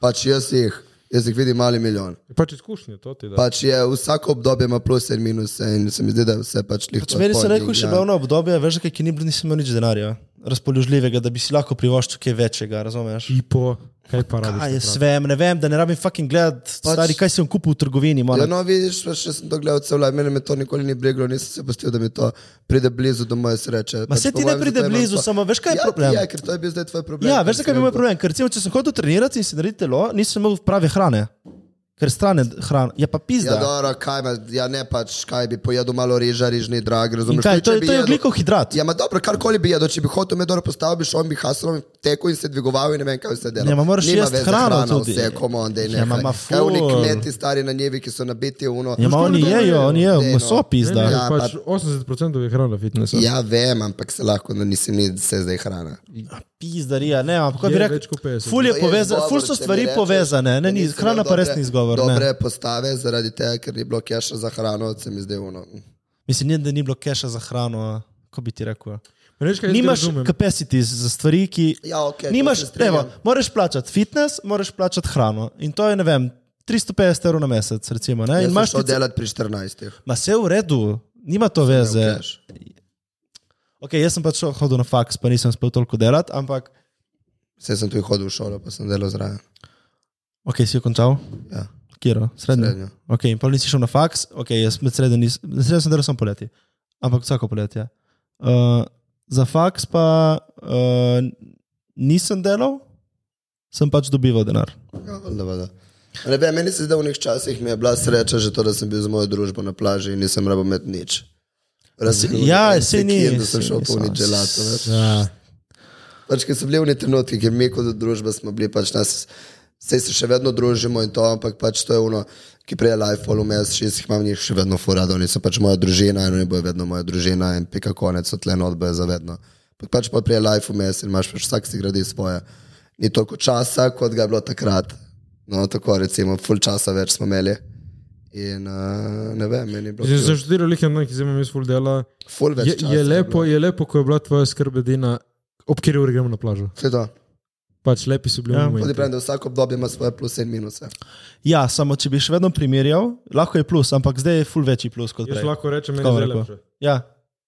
Speaker 4: pač jaz jih. Jaz jih vidim mali milijon.
Speaker 1: Pač izkušnje, to ti da.
Speaker 4: Pač je vsako obdobje ima plus in minus in se mi zdi, da vse pač lihto.
Speaker 3: Pač meni so
Speaker 4: pol
Speaker 3: najhujše
Speaker 4: yin-yang.
Speaker 3: bilo ono obdobje, veš, kaj ni bilo, nisem imel nič denarja, razpoložljivega, da bi si lahko privoščil kaj večjega, razumeš?
Speaker 1: Tipo, kaj pa rabiš?
Speaker 3: Kaj jaz
Speaker 1: takrat?
Speaker 3: vem, ne vem, da ne rabim fucking gledati,
Speaker 4: Ja, Pač-
Speaker 3: pač... stari, kaj si jim kupil v trgovini, malo.
Speaker 4: Ja, no, vidiš, pa še sem to gledal cel live, meni me to nikoli ni breglo, nisem se pustil, da mi to pride blizu do moje sreče. Pač
Speaker 3: Ma saj ti ne pride blizu, samo veš, kaj je
Speaker 4: ja,
Speaker 3: problem?
Speaker 4: Ja, ker to je bil zdaj tvoj problem.
Speaker 3: Ja,
Speaker 4: ker
Speaker 3: veš,
Speaker 4: si
Speaker 3: zakaj je
Speaker 4: rekel-
Speaker 3: moj problem? Ker recimo, če sem hodil trenirati in si naredil telo, nisem imel prave hrane. Ker strane hrane, je pa
Speaker 4: Ja,
Speaker 3: pizda.
Speaker 4: dobro, kaj me, ja ne pač, kaj bi pojedel malo riža, rižni drag,
Speaker 3: In
Speaker 4: razumeš?
Speaker 3: kaj,
Speaker 4: Tudi,
Speaker 3: to,
Speaker 4: če
Speaker 3: je-
Speaker 4: bi
Speaker 3: to je
Speaker 4: jedel-
Speaker 3: oglikov hidrat.
Speaker 4: Ja, ma dobro, karkoli bi jedel, če bi hotel med dobro postavo, bi šel, on bi haslom tekel in se dvigoval in ne vem, kaj se dela.
Speaker 3: Ja, ma moraš jesti hrano tudi.
Speaker 4: Vse, komu on, da je
Speaker 3: Ja, ma,
Speaker 4: nekaj.
Speaker 3: ma
Speaker 4: Kaj oni
Speaker 3: ful.
Speaker 4: kmeti stari na njevi, ki so nabiti v uno.
Speaker 3: Ja, ma oni jejo, oni jejo, meso pizda.
Speaker 1: Ne, ne,
Speaker 4: Ja,
Speaker 1: pač 80% je hrana fitnesa.
Speaker 4: Ja, vem, ampak se lahko, no nisem ni se zdaj hrana.
Speaker 3: Pizdarija, ne, ampak kaj bi
Speaker 1: Je
Speaker 3: rekel,
Speaker 1: več kot 50.
Speaker 3: ful, je
Speaker 4: To je
Speaker 3: poveza,
Speaker 4: izgovor,
Speaker 3: ful so
Speaker 4: če mi
Speaker 3: stvari
Speaker 4: rečeš,
Speaker 3: povezane, ne,
Speaker 4: da
Speaker 3: ni,
Speaker 4: nisi
Speaker 3: hrana
Speaker 4: imel
Speaker 3: pa res
Speaker 4: dobre-
Speaker 3: ni izgovor. Ne.
Speaker 4: Dobre postave, zaradi tega, ker ni bilo keša za hrano, se mi no. zdaj uno.
Speaker 3: Mislim, ne, da ni bilo keša za hrano, a, ko bi ti rekel.
Speaker 1: Reč, kaj
Speaker 3: Nimaš
Speaker 1: Nimaš razumem.
Speaker 3: capacity za stvari, ki.
Speaker 4: Ja, ok. to
Speaker 3: Nimaš,
Speaker 4: se strinjam.
Speaker 3: evo, moraš plačati fitness, moraš plačati hrano. In to je, ne vem, 350 evrov na mesec, recimo. Ne?
Speaker 4: Jaz
Speaker 3: In
Speaker 4: sem
Speaker 3: imaš
Speaker 4: šel
Speaker 3: ti
Speaker 4: delati pri 14.
Speaker 3: Ma vse v redu, nima to veze.
Speaker 4: cash.
Speaker 3: Okay, jaz sem pač šel- hodil na faks, pa nisem spel toliko delati, ampak
Speaker 4: Vse sem tu hodil v šolo, pa sem delal zraven.
Speaker 3: ok, si jo končal.
Speaker 4: Ja.
Speaker 3: Kjero, srednjo.
Speaker 4: Srednjo.
Speaker 3: srednjo. Okay, in pa nisi šel na faks, ok, jaz med srednjo nisem, med srednjo sem delal samo poleti, ampak vsako poletje. Uh, za faks pa uh, nisem delal, sem pač dobival denar.
Speaker 4: Ja, valjda, valjda. Ne vem, meni se zdi, da v nekih časih mi je bila sreča že to, da sem bil z mojo družbo na plaži in nisem rabo imeti nič. Razen
Speaker 3: Ja,
Speaker 4: en
Speaker 3: saj ni-
Speaker 4: sekir, Da sem
Speaker 3: saj
Speaker 4: šel
Speaker 3: ni-
Speaker 4: polniti želato. veš.
Speaker 1: Ja.
Speaker 4: Pač, ker so bili oni trenutki, ker mi kot družba smo bili pač nas. Vse se še vedno družimo in to, ampak pač to je ono, ki prej je life, pol vmes, šest jih imam, njih še vedno furado, oni so pač moja družina in oni bojo vedno moja družina in pika konec, odlen odboje za vedno. Ampak pač pa prej je life vmes in imaš pač vsak si gradi svoje. Ni toliko časa, kot ga je bilo takrat. No, tako recimo, full časa več smo imeli. In uh, ne vem, meni je bilo
Speaker 1: Že
Speaker 4: kul.
Speaker 1: zaštiri lihne, ki zdaj imam jaz full dela.
Speaker 4: full več
Speaker 1: Je,
Speaker 4: časa.
Speaker 1: je, lepo, je lepo, ko je bila tvoja skrb edina, ob kateri uri gremo na plažo.
Speaker 4: Vse to.
Speaker 1: Pač lepi so bili
Speaker 3: Ja.
Speaker 1: momenti.
Speaker 4: Tudi pravim, da vsako obdobje ima svoje pluse in minuse.
Speaker 3: Ja, samo če bi še vedno primerjal, lahko je plus, ampak zdaj je full večji plus kot
Speaker 1: Jaz
Speaker 3: prej.
Speaker 1: lahko rečem, meni
Speaker 3: Tako
Speaker 1: je zdaj
Speaker 3: rekel.
Speaker 1: lepše.
Speaker 3: Ja,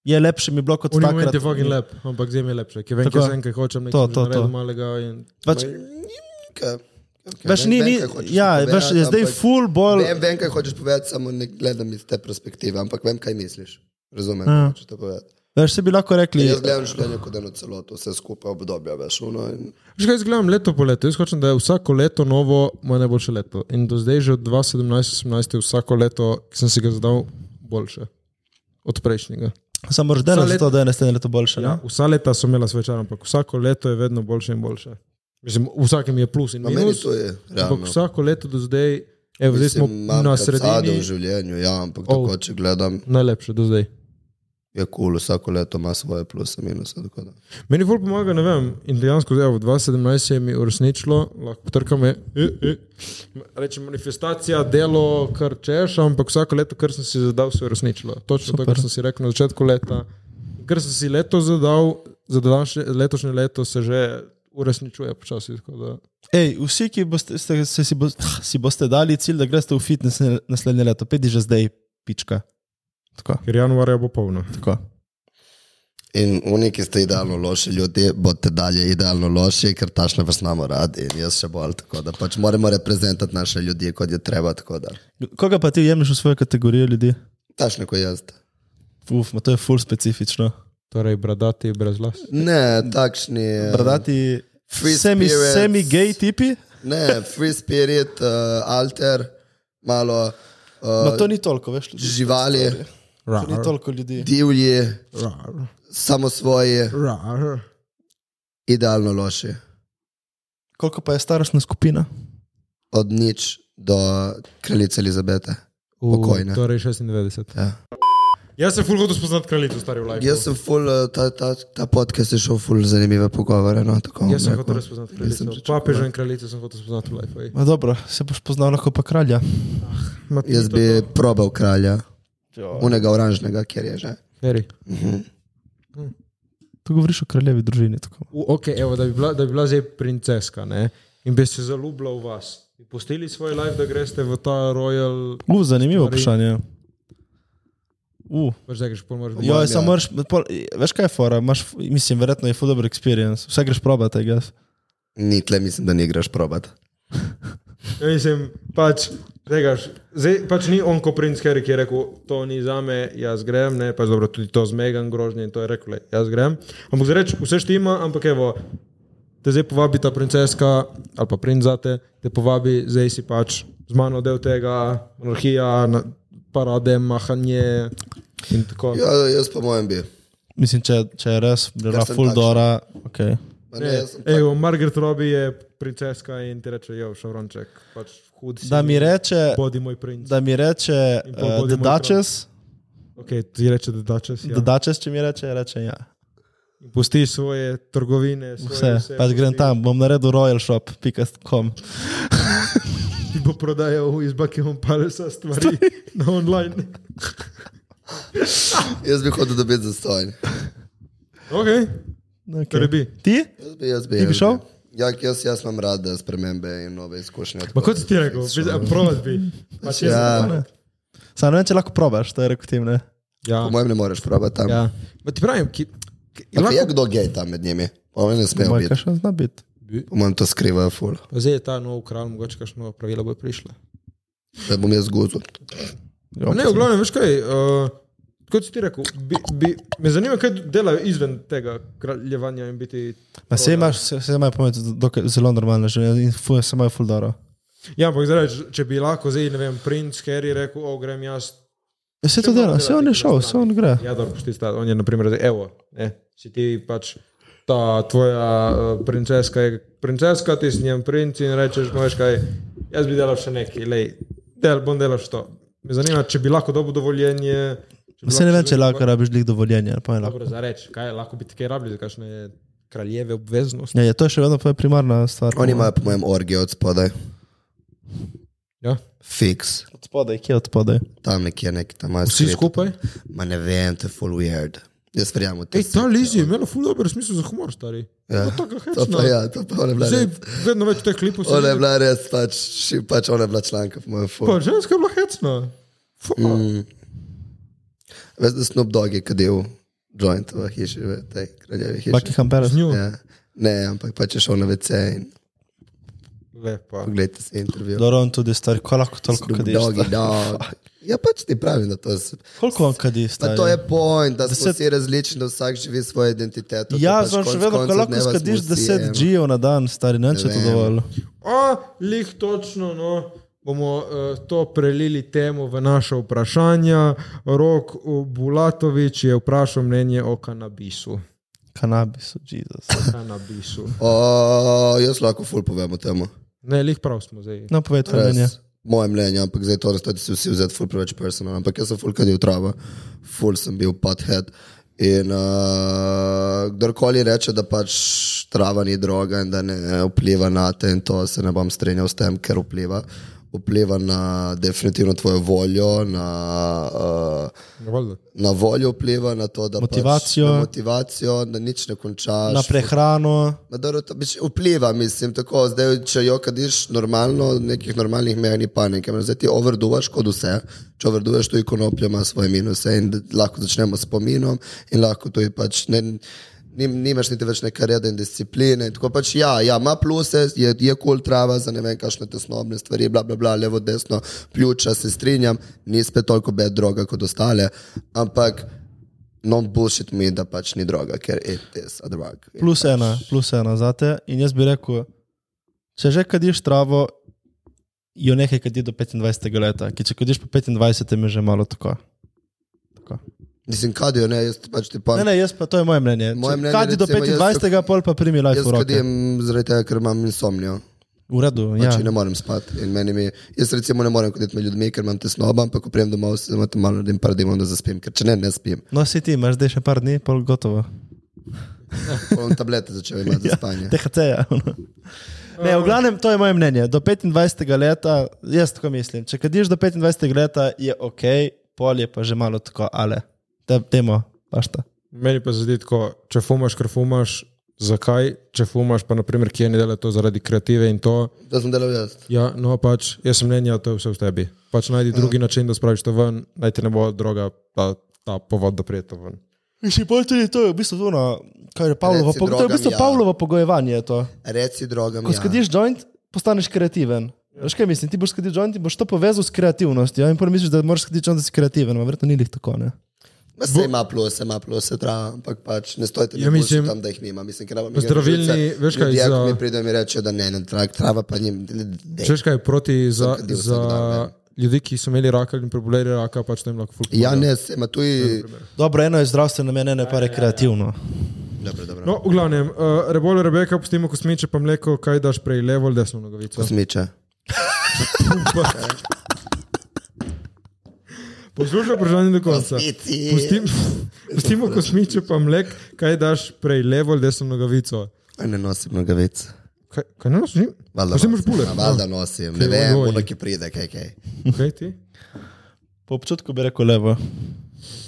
Speaker 3: je lepše mi bilo kot
Speaker 1: V momentu je fucking
Speaker 3: takrat.
Speaker 1: lep, ampak zdaj mi je lepše, ker vem,
Speaker 3: Tako.
Speaker 1: ker sem, ker hočem
Speaker 3: To,
Speaker 1: nekaj
Speaker 3: to, to.
Speaker 1: malega. In...
Speaker 3: Pač,
Speaker 4: Kaj, kaj,
Speaker 3: Veš,
Speaker 4: vem,
Speaker 3: ni,
Speaker 4: vem,
Speaker 3: ni,
Speaker 4: kaj hočeš
Speaker 3: ja, veš, je
Speaker 4: povedati,
Speaker 3: zdaj
Speaker 4: ampak
Speaker 3: full bolj.
Speaker 4: Vem, vem, kaj hočeš povedati, samo ne gledam iz te perspektive, ampak vem, kaj misliš. Razumem,
Speaker 3: Ja.
Speaker 4: kaj hočeš to povedati.
Speaker 3: Veš, se bi lahko rekli,
Speaker 4: Jaz gledam življenje kot eno celoto, vse skupaj obdobja, veš, uno in
Speaker 1: Že kaj gledam leto po letu, jaz hočem, da je vsako leto novo, moje najboljše leto. In do zdaj že od 2017-2018 je vsako leto, ki sem si ga zadal, boljše od prejšnjega.
Speaker 3: Samo moraš delati
Speaker 1: Vsa
Speaker 3: za to, da je naslednje leto boljše.
Speaker 1: Ja,
Speaker 3: Ja.
Speaker 1: vsa leta so imela svečar, ampak vsako leto je vedno boljše in boljše. Mislim, v vsakem je plus in
Speaker 4: pa meni
Speaker 1: minus.
Speaker 4: to je.
Speaker 1: Ja, Ampak
Speaker 4: realno.
Speaker 1: vsako leto do zdaj, evo, zdaj smo
Speaker 4: Mislim, imam
Speaker 1: na
Speaker 4: kacado v
Speaker 1: sredini.
Speaker 4: življenju, ja, ampak
Speaker 1: Oh.
Speaker 4: tako, če gledam,
Speaker 1: Najlepše do zdaj.
Speaker 4: je kul, cool, vsako leto ima svoje pluse in minuse. tako da.
Speaker 1: Meni bolj pomaga, ne vem, in dejansko zdaj v 2017 se je mi uresničilo, lahko potrkam, je, eh, eh. rečem manifestacija, delo, kar češ, ampak vsako leto, kar sem si zadal, se je uresničilo. Točno Super. to, kar sem si rekel na začetku leta. Ker sem si leto zadal, za današnje- letošnje leto se že uresničuje počasi. tako da-
Speaker 3: Ej, vsi, ki boste, ste, se, si, boste, si boste dali cilj, da greste v fitness ne- naslednje leto, pedi že zdaj, pička. Tako,
Speaker 1: Ker januarja bo polno.
Speaker 3: tako.
Speaker 4: In oni, ki ste idealno loši ljudje, boste dalje idealno loši, ker tašne vas namo radi in jaz še bolj. Tako da pač moramo reprezentati naše ljudi, kot je treba. tako da.
Speaker 3: Koga pa ti jemliš v svojo kategorijo ljudi?
Speaker 4: Tašne kot jaz.
Speaker 3: Uf, ma to je full specifično.
Speaker 1: Torej, bradati brez las.
Speaker 4: Ne, takšni. eh,
Speaker 3: Bradati,
Speaker 4: Free
Speaker 3: Ja. semi,
Speaker 4: spirits.
Speaker 3: semi gay tipi?
Speaker 4: Ne, free spirit, uh, alter, malo
Speaker 3: Ma
Speaker 4: uh,
Speaker 3: No, to ni toliko, veš, ljudi.
Speaker 4: živali,
Speaker 3: To ni toliko ljudi.
Speaker 4: divji,
Speaker 1: rar,
Speaker 4: samo svoji,
Speaker 1: rar.
Speaker 4: idealno loši.
Speaker 3: Koliko pa je starostna skupina?
Speaker 4: Od nič do kraljice Elizabete.
Speaker 1: U,
Speaker 4: Pokojne.
Speaker 1: Torej 96.
Speaker 4: Ja.
Speaker 1: Jaz sem fulgodo spoznat kraljico, stari v lajku.
Speaker 4: Jaz sem full, eh, ta, ta, ta podcast je šel full zanimive pogovore. No, tako bom
Speaker 1: Jaz sem ja.
Speaker 4: rekel.
Speaker 1: hotel spoznati
Speaker 4: Nisem
Speaker 1: kraljico.
Speaker 4: pričakoval.
Speaker 1: Papeža in kraljico sem hotel spoznati v Life.
Speaker 3: Ma dobro, se boš poznal lahko pa kralja.
Speaker 4: Jaz bi probal kralja, unega oranžnega, kjer je že.
Speaker 1: Heri.
Speaker 3: Tu govoriš o kraljevi družini. Tako.
Speaker 1: U, ok, evo, da bi bila, da bi bila zdaj princeska ne? in bi se zaljubila v vas. Bi Pustili svoj life, da greste v ta Royal,
Speaker 3: Uh, zanimivo
Speaker 1: Stvari.
Speaker 3: vprašanje. Uh.
Speaker 1: pač da greš, pol moraš biti.
Speaker 3: Jo,
Speaker 4: ja.
Speaker 3: samo moraš, pol, veš kaj je fora, imaš, mislim, verjetno je full dobro experience. Vse greš probat, I guess.
Speaker 4: Ni tle, mislim, da ne greš probat.
Speaker 1: Ja, mislim, pač, regaš, zdaj, pač ni on kot princ Harry, ki je rekel, to ni za me, jaz grem, ne, pač dobro, tudi to z Megan grožnje in to je rekel, le, jaz grem. Ampak zdaj reč, vse štima, ampak evo, te zdaj povabi ta princeska ali pa princ zate, te povabi, zdaj si pač z mano del tega, monarhija, na- parade, mahanje in tako.
Speaker 4: Ja, jaz pa mojem bi.
Speaker 3: Mislim, če, če je res, bila
Speaker 4: sem
Speaker 3: full
Speaker 4: takšen.
Speaker 3: dora, ok.
Speaker 4: Ma Ne, jaz sem pa-
Speaker 1: Evo, Margaret Robbie je princeska in ti reče, jo, šavronček, pač hud si,
Speaker 3: Da mi reče,
Speaker 1: bodi moj princ.
Speaker 3: da mi reče,
Speaker 1: In pol
Speaker 3: uh,
Speaker 1: bodimo
Speaker 3: da dačes,
Speaker 1: Ok, ti reče, da dačes. Ja.
Speaker 3: da dačes, če mi reče, reče ja.
Speaker 1: Pustiš svoje trgovine, svoje
Speaker 3: Vse,
Speaker 1: vse
Speaker 3: pač grem
Speaker 1: pustiš.
Speaker 3: tam, bom naredil royalshop.com.
Speaker 1: Ti bo prodajal iz Buckingham Palace stvari *laughs* na online.
Speaker 4: Jaz bi hodil dobiti za stojn.
Speaker 1: Ok, torej bi.
Speaker 3: Ti?
Speaker 4: Jaz bi, jaz bi.
Speaker 3: Ti bi
Speaker 4: jaz
Speaker 3: šel?
Speaker 4: Ja, jaz, jaz imam rad eh, spremembe in nove izkušnje.
Speaker 1: Ma kot si ti rekel, provat bi. Pa če
Speaker 4: Ja.
Speaker 1: ja.
Speaker 3: Sam ne vem, če lahko probaš, to je rekel tim, ne?
Speaker 1: Ja.
Speaker 4: Po mojem ne moreš probati tam. Ja.
Speaker 1: ja. Ma ti pravim, ki, ki,
Speaker 4: Lahko je
Speaker 1: lahko,
Speaker 4: kdo gej tam med njimi. Po mojem ne smejo
Speaker 3: Moj,
Speaker 4: biti.
Speaker 3: kaj še zna biti.
Speaker 4: Po mojem to skrivajo ful.
Speaker 1: Pa zdaj je ta nov kralj, mogoče kakšno novo pravilo bo prišlo.
Speaker 4: Da bom jaz guzil.
Speaker 1: Pa Ne, v glavnem, veš kaj, uh, kot si ti rekel, bi, bi, me zanima, kaj delajo izven tega kraljevanja in biti...
Speaker 3: Ma se imaš, se, se imaš pamet, dokaj zelo normalno življenje in fuje, se imaš full dora.
Speaker 1: Ja, ampak zdaj, reč, če bi lahko zdaj, ne vem, princ Harry rekel, o, grem jaz
Speaker 3: Ja, se to dela, se on je šel, se on gre.
Speaker 1: Ja, dobro, pusti sta, on je, na primer, zdaj, evo, ne, si ti pač ta tvoja eh, princeska, je princeska, ti si njen princ in rečeš, no, veš kaj, jaz bi delal še nekaj, lej, del, bom delal še to. Me zanima, če bi lahko dobil dovoljenje. če bi
Speaker 3: Se ne vem, če
Speaker 1: dobil-
Speaker 3: lahko rabiš lik dovoljenje, ali pa ne lahko.
Speaker 1: Dobro, za reč, kaj lahko bi te kaj rabili, za kakšne kraljeve obveznosti.
Speaker 3: Ja, ja, to je še vedno pa je primarna stvar.
Speaker 4: Oni imajo po mojem orgije od spodaj.
Speaker 1: Ja.
Speaker 4: Fiks.
Speaker 3: od spodaj, kje od spodaj?
Speaker 4: Tam nekje nek tam imajo.
Speaker 1: Vsi
Speaker 4: skrit.
Speaker 1: skupaj.
Speaker 4: Ma ne vem, to je full weird. Jaz verjamem v to.
Speaker 1: Ej, ta Lizzy je imela ful dober smisel za humor, stari. To
Speaker 4: Ja.
Speaker 1: je
Speaker 4: To
Speaker 1: tako
Speaker 4: pa
Speaker 1: hecno.
Speaker 4: ja, to pa ona je bila
Speaker 1: Zdaj,
Speaker 4: res.
Speaker 1: vedno več teh klipov se
Speaker 4: Ona je
Speaker 1: vidi.
Speaker 4: bila res, pač, ši- pač ona je bila članka po mojem ful.
Speaker 1: Pa ženska je bila hecna. Fuck.
Speaker 4: Mm, Veš, da Snoop Dogg je kadil joint v hiši, v tej kraljevi hiši.
Speaker 3: Buckingham Palace.
Speaker 1: Z njo.
Speaker 4: Ja. Ne, ampak pač je šel na WC in
Speaker 1: Lepa.
Speaker 4: poglejte si intervju.
Speaker 3: Dobro, on tudi star, ko lahko toliko
Speaker 4: Snoop
Speaker 3: kadiš.
Speaker 4: Dogg,
Speaker 3: star?
Speaker 4: dog. Ja, pač ti pravim, da to je.
Speaker 3: Koliko on kadi
Speaker 4: Pa
Speaker 3: star?
Speaker 4: to je point, da smo
Speaker 3: Ja, Deset-
Speaker 4: vsi različni, da vsak živi svojo identiteto. to
Speaker 3: Ja,
Speaker 4: pač
Speaker 3: zvon še
Speaker 4: konec
Speaker 3: vedno, ko
Speaker 4: koncev
Speaker 3: lahko
Speaker 4: dneva smo
Speaker 3: skadiš
Speaker 4: vsi
Speaker 3: 10
Speaker 4: eno.
Speaker 3: G-ov na dan, stari, ne vem, če je to
Speaker 4: vem.
Speaker 3: dovolj.
Speaker 1: O, lih točno, no, bomo uh, to prelili temu v naše vprašanja. Rok Bulatovič je vprašal mnenje o kanabisu.
Speaker 3: Kanabis, oh, Jezus.
Speaker 1: kanabisu.
Speaker 4: O, jaz lahko ful povem o tem.
Speaker 1: Ne, lih prav smo zdaj.
Speaker 3: No, povej tvoje mnenje.
Speaker 4: Moje mnenje, ampak zdaj to resnici si vsi vzeti ful preveč personal, ampak jaz sem ful kadil trava, ful sem bil pothead. In uh, kdorkoli reče, da pač trava ni droga in da ne vpliva na te, in to se ne bom strinjal s tem, ker vpliva. Vpliva na definitivno tvojo voljo, na uh,
Speaker 1: Dovolj.
Speaker 4: na voljo vpliva, na to, da
Speaker 3: Motivacijo.
Speaker 4: pač, na motivacijo, da nič ne končaš.
Speaker 3: Na prehrano,
Speaker 4: Ma dobro, Pač to pač Vpliva, mislim, tako. Zdaj, če jo kadiš normalno, nekih normalnih meja ni panike. Zdaj ti overduvaš kot vse. Če overduješ, tudi konoplja ima svoje minuse in d- lahko začnemo s pominom in lahko tudi pač ne. Nim, nimaš niti več neke reda in discipline. In tako pač, ja, ja, ima pluse, je, je kul trava za ne vem, kakšne tesnobne stvari, bla, bla, bla, levo, desno, pljuča, se strinjam, ni spet toliko bed droga kot ostale, ampak non bullshit mi, da pač ni droga, ker it is a drug. In
Speaker 3: plus ena, plus ena zate. In jaz bi rekel, če že kadiš travo, jo nekaj kadi do 25. leta, ki če kadiš po 25. je že malo tako. tako.
Speaker 4: Mislim, kadijo, ne, jaz pač ti pa.
Speaker 3: Ne, ne, jaz pa to je moje mnenje.
Speaker 4: Moje mnenje,
Speaker 3: Kadi do
Speaker 4: recimo, jaz-
Speaker 3: 25. pol pa primi life
Speaker 4: jaz
Speaker 3: v roke.
Speaker 4: kadim zaradi tega, ker imam insomnijo.
Speaker 3: V redu, ja.
Speaker 4: Pač ja. ne morem spati. in meni Mi, jaz recimo ne morem kaditi med ljudmi, ker imam tesnobo, ampak ko prijem domov, se tam malo naredim, par dimov, da zaspim, ker če ne, ne spim.
Speaker 3: No, si ti, imaš zdaj še par dni, pol gotovo.
Speaker 4: Polno tablete začel imati za spanje.
Speaker 3: THC-ja. *laughs* Ne, v glavnem, to je moje mnenje. Do 25. leta, jaz tako mislim. Če kadiš do 25. leta, je ok, pol je pa že malo tako, ale. Te, temo, pašta.
Speaker 1: Meni pa se zdi tako, če fumaš, ker fumaš, zakaj, če fumaš, pa naprimer, kje ne dela to zaradi kreative in to.
Speaker 4: Da sem delal jaz.
Speaker 1: Ja, no, pač jaz sem mnenja, to je vse v tebi. Pač najdi drugi način, da spraviš to ven, naj ti ne bo droga ta, ta povod, da prijete ven.
Speaker 3: In še bolj tudi to je v bistvu to, no, kar je Pavlovo,
Speaker 4: Reci
Speaker 3: pogo, to je v
Speaker 4: drogam
Speaker 3: bistvu
Speaker 4: ja.
Speaker 3: Pavlovo pogojevanje. je To.
Speaker 4: Reci drogam.
Speaker 3: Ko
Speaker 4: ja.
Speaker 3: skadiš joint, postaneš kreativen. Veš kaj mislim, ti boš skadil joint in boš to povezal s kreativnostjo. Ja? In prvi misliš, da moraš skaditi joint, da si kreativen, ampak verjetno ni lih tako. Ne?
Speaker 4: Ma Se ima plus, ima plus, trava, ampak pač ne stojite
Speaker 1: Ja,
Speaker 4: ja,
Speaker 1: mislim-
Speaker 4: mislim, tam, da jih nima. Mislim, ker rabim
Speaker 1: Zdravilni, veš kaj,
Speaker 4: ljudje,
Speaker 1: za-
Speaker 4: za... mi pridejo in mi rečejo, da ne, ne, tra- trava pa njim. dej.
Speaker 1: Češ kaj je proti za,
Speaker 4: kadil vsak
Speaker 1: za
Speaker 4: dan, ne.
Speaker 1: ljudi, ki so imeli raka in preboleli raka, pač to jim lahko fulpa.
Speaker 4: Ja, ne, se ima tu i...
Speaker 3: Dobro, eno je zdravstveno, meni eno je pa rekreativno.
Speaker 4: Dobro, dobro. No.
Speaker 1: No, v glavnem, uh, rebolo, rebeka, pustimo kosmiče, pa mleko, kaj daš prej, levo ali desno nogavico.
Speaker 4: Smiče.
Speaker 1: *laughs* Poslušaj vprašanje do konca.
Speaker 4: Kosmici.
Speaker 1: Pustim,
Speaker 4: *laughs*
Speaker 1: pustimo kosmiče, pa mleko, kaj daš prej, levo ali desno nogavico.
Speaker 4: Aj, Ne nosim nogavic.
Speaker 1: Kaj, kaj ne nosim?
Speaker 4: Valjda
Speaker 1: Nosim
Speaker 4: nosim.
Speaker 1: moš bule.
Speaker 4: Ja, Valjda nosim, ne
Speaker 1: Kaj
Speaker 4: vem,
Speaker 1: ojoj.
Speaker 4: ono ki pride, kaj kaj.
Speaker 1: Kaj ti?
Speaker 3: Po občutku bi rekel levo.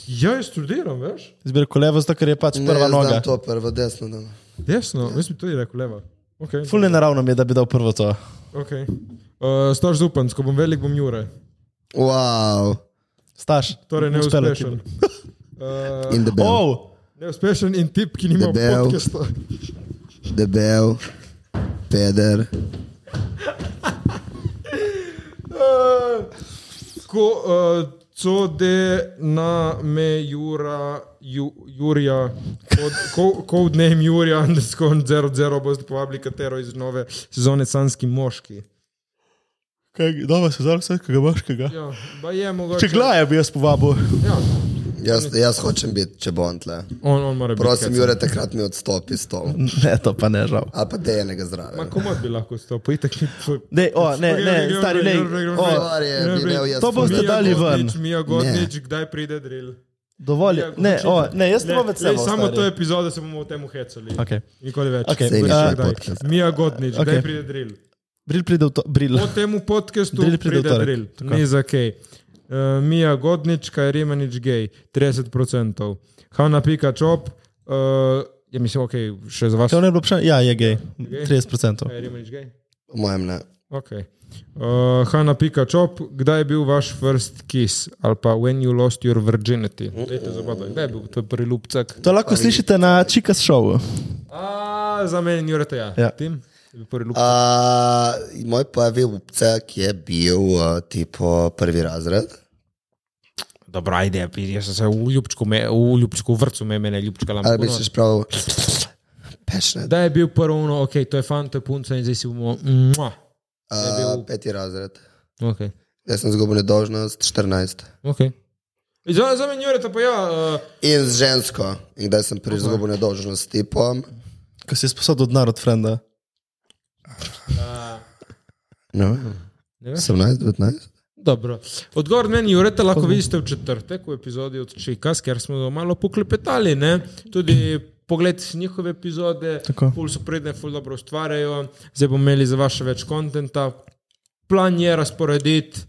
Speaker 1: Ja, jaz študiram, veš?
Speaker 3: Jaz bi rekel levo, zato ker je pač
Speaker 4: Ne,
Speaker 3: prva
Speaker 4: jaz
Speaker 3: noga.
Speaker 4: dam to prvo desno. no. Da.
Speaker 1: Desno,
Speaker 4: Ja.
Speaker 1: jaz bi tudi rekel levo. Okay.
Speaker 3: Fulne naravno mi je, da bi dal prvo to.
Speaker 1: Okay. Uh, Stož zupan, ko bom velik, bom jure.
Speaker 4: Wow.
Speaker 3: Staš.
Speaker 1: Torej
Speaker 3: uspelo ti
Speaker 1: neuspešen.
Speaker 3: bo.
Speaker 1: Uh,
Speaker 4: In debel. Oh.
Speaker 3: Oh,
Speaker 1: neuspešen in tip, ki nima
Speaker 4: Debel.
Speaker 1: podcasta.
Speaker 4: Debel. Peder.
Speaker 1: Eh, Ko uh, code na me Jura, ju, Jurija, kod ne im Jurija, underscore 00, boste povabili katero iz nove sezone Sanski moški.
Speaker 3: kaj, dobro se zavzal, kaj ga boš, kaj ga.
Speaker 1: Ja, ba je mogoče.
Speaker 3: Če glaje bi jaz povabil.
Speaker 1: Ja,
Speaker 4: Jaz, jaz hočem biti, če bom tle.
Speaker 1: on, on mora biti.
Speaker 4: Prosim,
Speaker 1: heca.
Speaker 4: Jure, takrat mi odstopi s to.
Speaker 3: *laughs* Ne, to pa ne žal.
Speaker 4: A pa dejenega zraven.
Speaker 1: Ma komod bi lahko stopil, itak ni tvoj.
Speaker 3: Ne, o, ne, ne, stari, ne.
Speaker 1: Oh.
Speaker 3: O,
Speaker 4: Stvar je, bi imel jaz
Speaker 3: To boste
Speaker 4: ful-
Speaker 3: Mija dali ven. Godnič,
Speaker 1: Mija
Speaker 4: Godnič,
Speaker 1: Godnič, kdaj pride drill?
Speaker 3: dovolj
Speaker 1: Ja,
Speaker 3: je. Ne, o, ne, jaz ne bom več
Speaker 1: lej,
Speaker 3: samo.
Speaker 1: samo to epizodo se bomo o tem hecali.
Speaker 3: Okay.
Speaker 1: Nikoli več.
Speaker 3: Okej,
Speaker 4: Sej
Speaker 1: Veš,
Speaker 4: ni še
Speaker 1: kdaj.
Speaker 4: podcast.
Speaker 1: Mija Godnič, kdaj
Speaker 3: Okej.
Speaker 1: pride drill?
Speaker 3: Bril pride v to, bril.
Speaker 1: Po tem podkastu
Speaker 3: Drill
Speaker 1: pride,
Speaker 3: pride v
Speaker 1: pride
Speaker 3: torek.
Speaker 1: drill.
Speaker 3: Tako.
Speaker 1: Ni za kaj. Uh, Mija Godnič, kaj Remanič gej, 30%. Hanna Pika Čop, uh, ja mislim, ok, še za vas.
Speaker 3: To ne je bilo vprašanje? Ja, je gej. 30%.
Speaker 1: Kaj Remanič gej?
Speaker 4: Po mojem ne.
Speaker 1: Okay. Uh, Hanna Pika Čop, kdaj je bil vaš first kiss ali pa when you lost your virginity? Dajte zabadaj, kdaj je bil to prvi ljubček?
Speaker 3: To lahko slišite na Chikas showu.
Speaker 1: A, Za meni ni urete, ja.
Speaker 3: Ja.
Speaker 1: Tim, je bil prvi ljubček.
Speaker 4: A, moj prvi upcek je bil uh, tipo prvi razred.
Speaker 1: Dobra, ajde, pi- jaz sem se v ljubčku, me, v ljubčku, v vrcu me je mene ljubčka
Speaker 4: Ali bi
Speaker 1: lampa.
Speaker 4: si prav pešne?
Speaker 1: Da je bil prvo, no, ok, to je fant, to je punca in zdaj si bomo. Mua. bil-
Speaker 4: Peti razred.
Speaker 1: Okay.
Speaker 4: Jaz sem zgubil nedožnost 14.
Speaker 1: Okay. Za, za meni urete, pa ja. Uh,
Speaker 4: In z žensko. In kdaj sem prvič zgubil nedožnost s tipom.
Speaker 3: Ko si sposodil denar od frenda.
Speaker 4: No,
Speaker 1: Ne vem.
Speaker 4: 17, 19.
Speaker 1: Dobro. Odgovor meni, Jureta, lahko vidite v četrtek v epizodi od Čikas, ker smo malo poklepetali. Ne? Tudi pogled njihove epizode,
Speaker 3: Tako.
Speaker 1: ful so predne, ful dobro ustvarjajo, zdaj bomo imeli za vaše več kontenta. Plan je razporediti,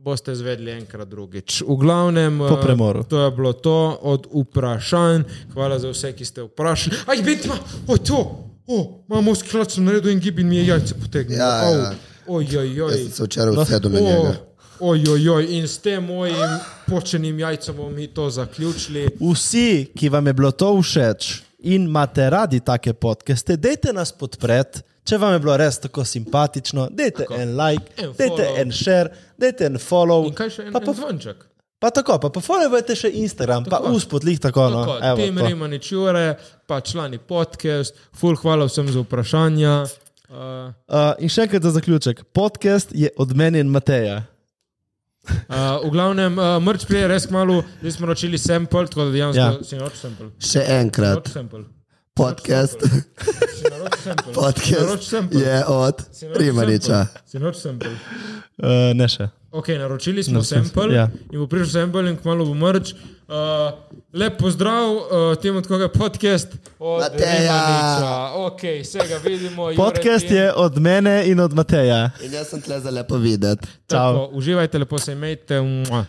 Speaker 1: boste izvedli enkrat drugič. V glavnem, eh,
Speaker 3: premoru.
Speaker 1: to je bilo to od vprašanj. Hvala za vse, ki ste vprašali. Aj, bitma, oj to! O, imamo sklad, sem naredil en gib in mi je jajce potegnil.
Speaker 4: Ja,
Speaker 1: Au.
Speaker 4: ja.
Speaker 1: Oj, oj, oj. No,
Speaker 4: Jaz sem se včeraj usedel na njega.
Speaker 1: Ojoj, in s tem mojim počenim jajcem bomo mi to zaključili.
Speaker 3: Vsi, ki vam je bilo to všeč in imate radi take podcaste, dejte nas podpreti. Če vam je bilo res tako simpatično, dajte tako. en like,
Speaker 1: En
Speaker 3: dajte
Speaker 1: follow.
Speaker 3: en share, dajte en follow.
Speaker 1: In kaj še en,
Speaker 3: pa,
Speaker 1: en
Speaker 3: pa,
Speaker 1: zvonček?
Speaker 3: pa tako, pa pofollowajte še Instagram, tako. pa
Speaker 1: Tako.
Speaker 3: uspodlih tako. No,
Speaker 1: Tako,
Speaker 3: evo,
Speaker 1: Tim
Speaker 3: to.
Speaker 1: Rimanič Jure, pa člani podcast, ful hvala vsem za vprašanja. Uh,
Speaker 3: Uh, in še enkrat za zaključek. Podcast je od meni in Mateja.
Speaker 1: uh, v glavnem, uh, mrč prije res malo, zdaj smo ročili sample, tako da dejansko
Speaker 3: Ja.
Speaker 1: ja. si naroč sample.
Speaker 4: Še
Speaker 1: Naroč
Speaker 4: enkrat,
Speaker 1: sample.
Speaker 4: podcast, *laughs*
Speaker 1: Si naroč sample. Si naroč
Speaker 4: podcast
Speaker 1: sample.
Speaker 4: je od
Speaker 1: Si naroč
Speaker 4: Rimaniča.
Speaker 1: sample. Si naroč sample.
Speaker 3: Uh, ne še.
Speaker 1: Ok, naročili smo
Speaker 3: vsem-
Speaker 1: sample
Speaker 3: ja.
Speaker 1: ja. in bo prišel sample in kmalo bo mrč. Uh, lep pozdrav uh, temu, od koga je podcast. Od
Speaker 4: Mateja.
Speaker 1: Remaniča. Ok, vsega vidimo. Jure,
Speaker 3: Podcast
Speaker 1: Tim.
Speaker 3: je od mene in od Mateja.
Speaker 4: In jaz sem tle za lepo videti.
Speaker 1: Tako, Uživajte, lepo se imejte. Mua.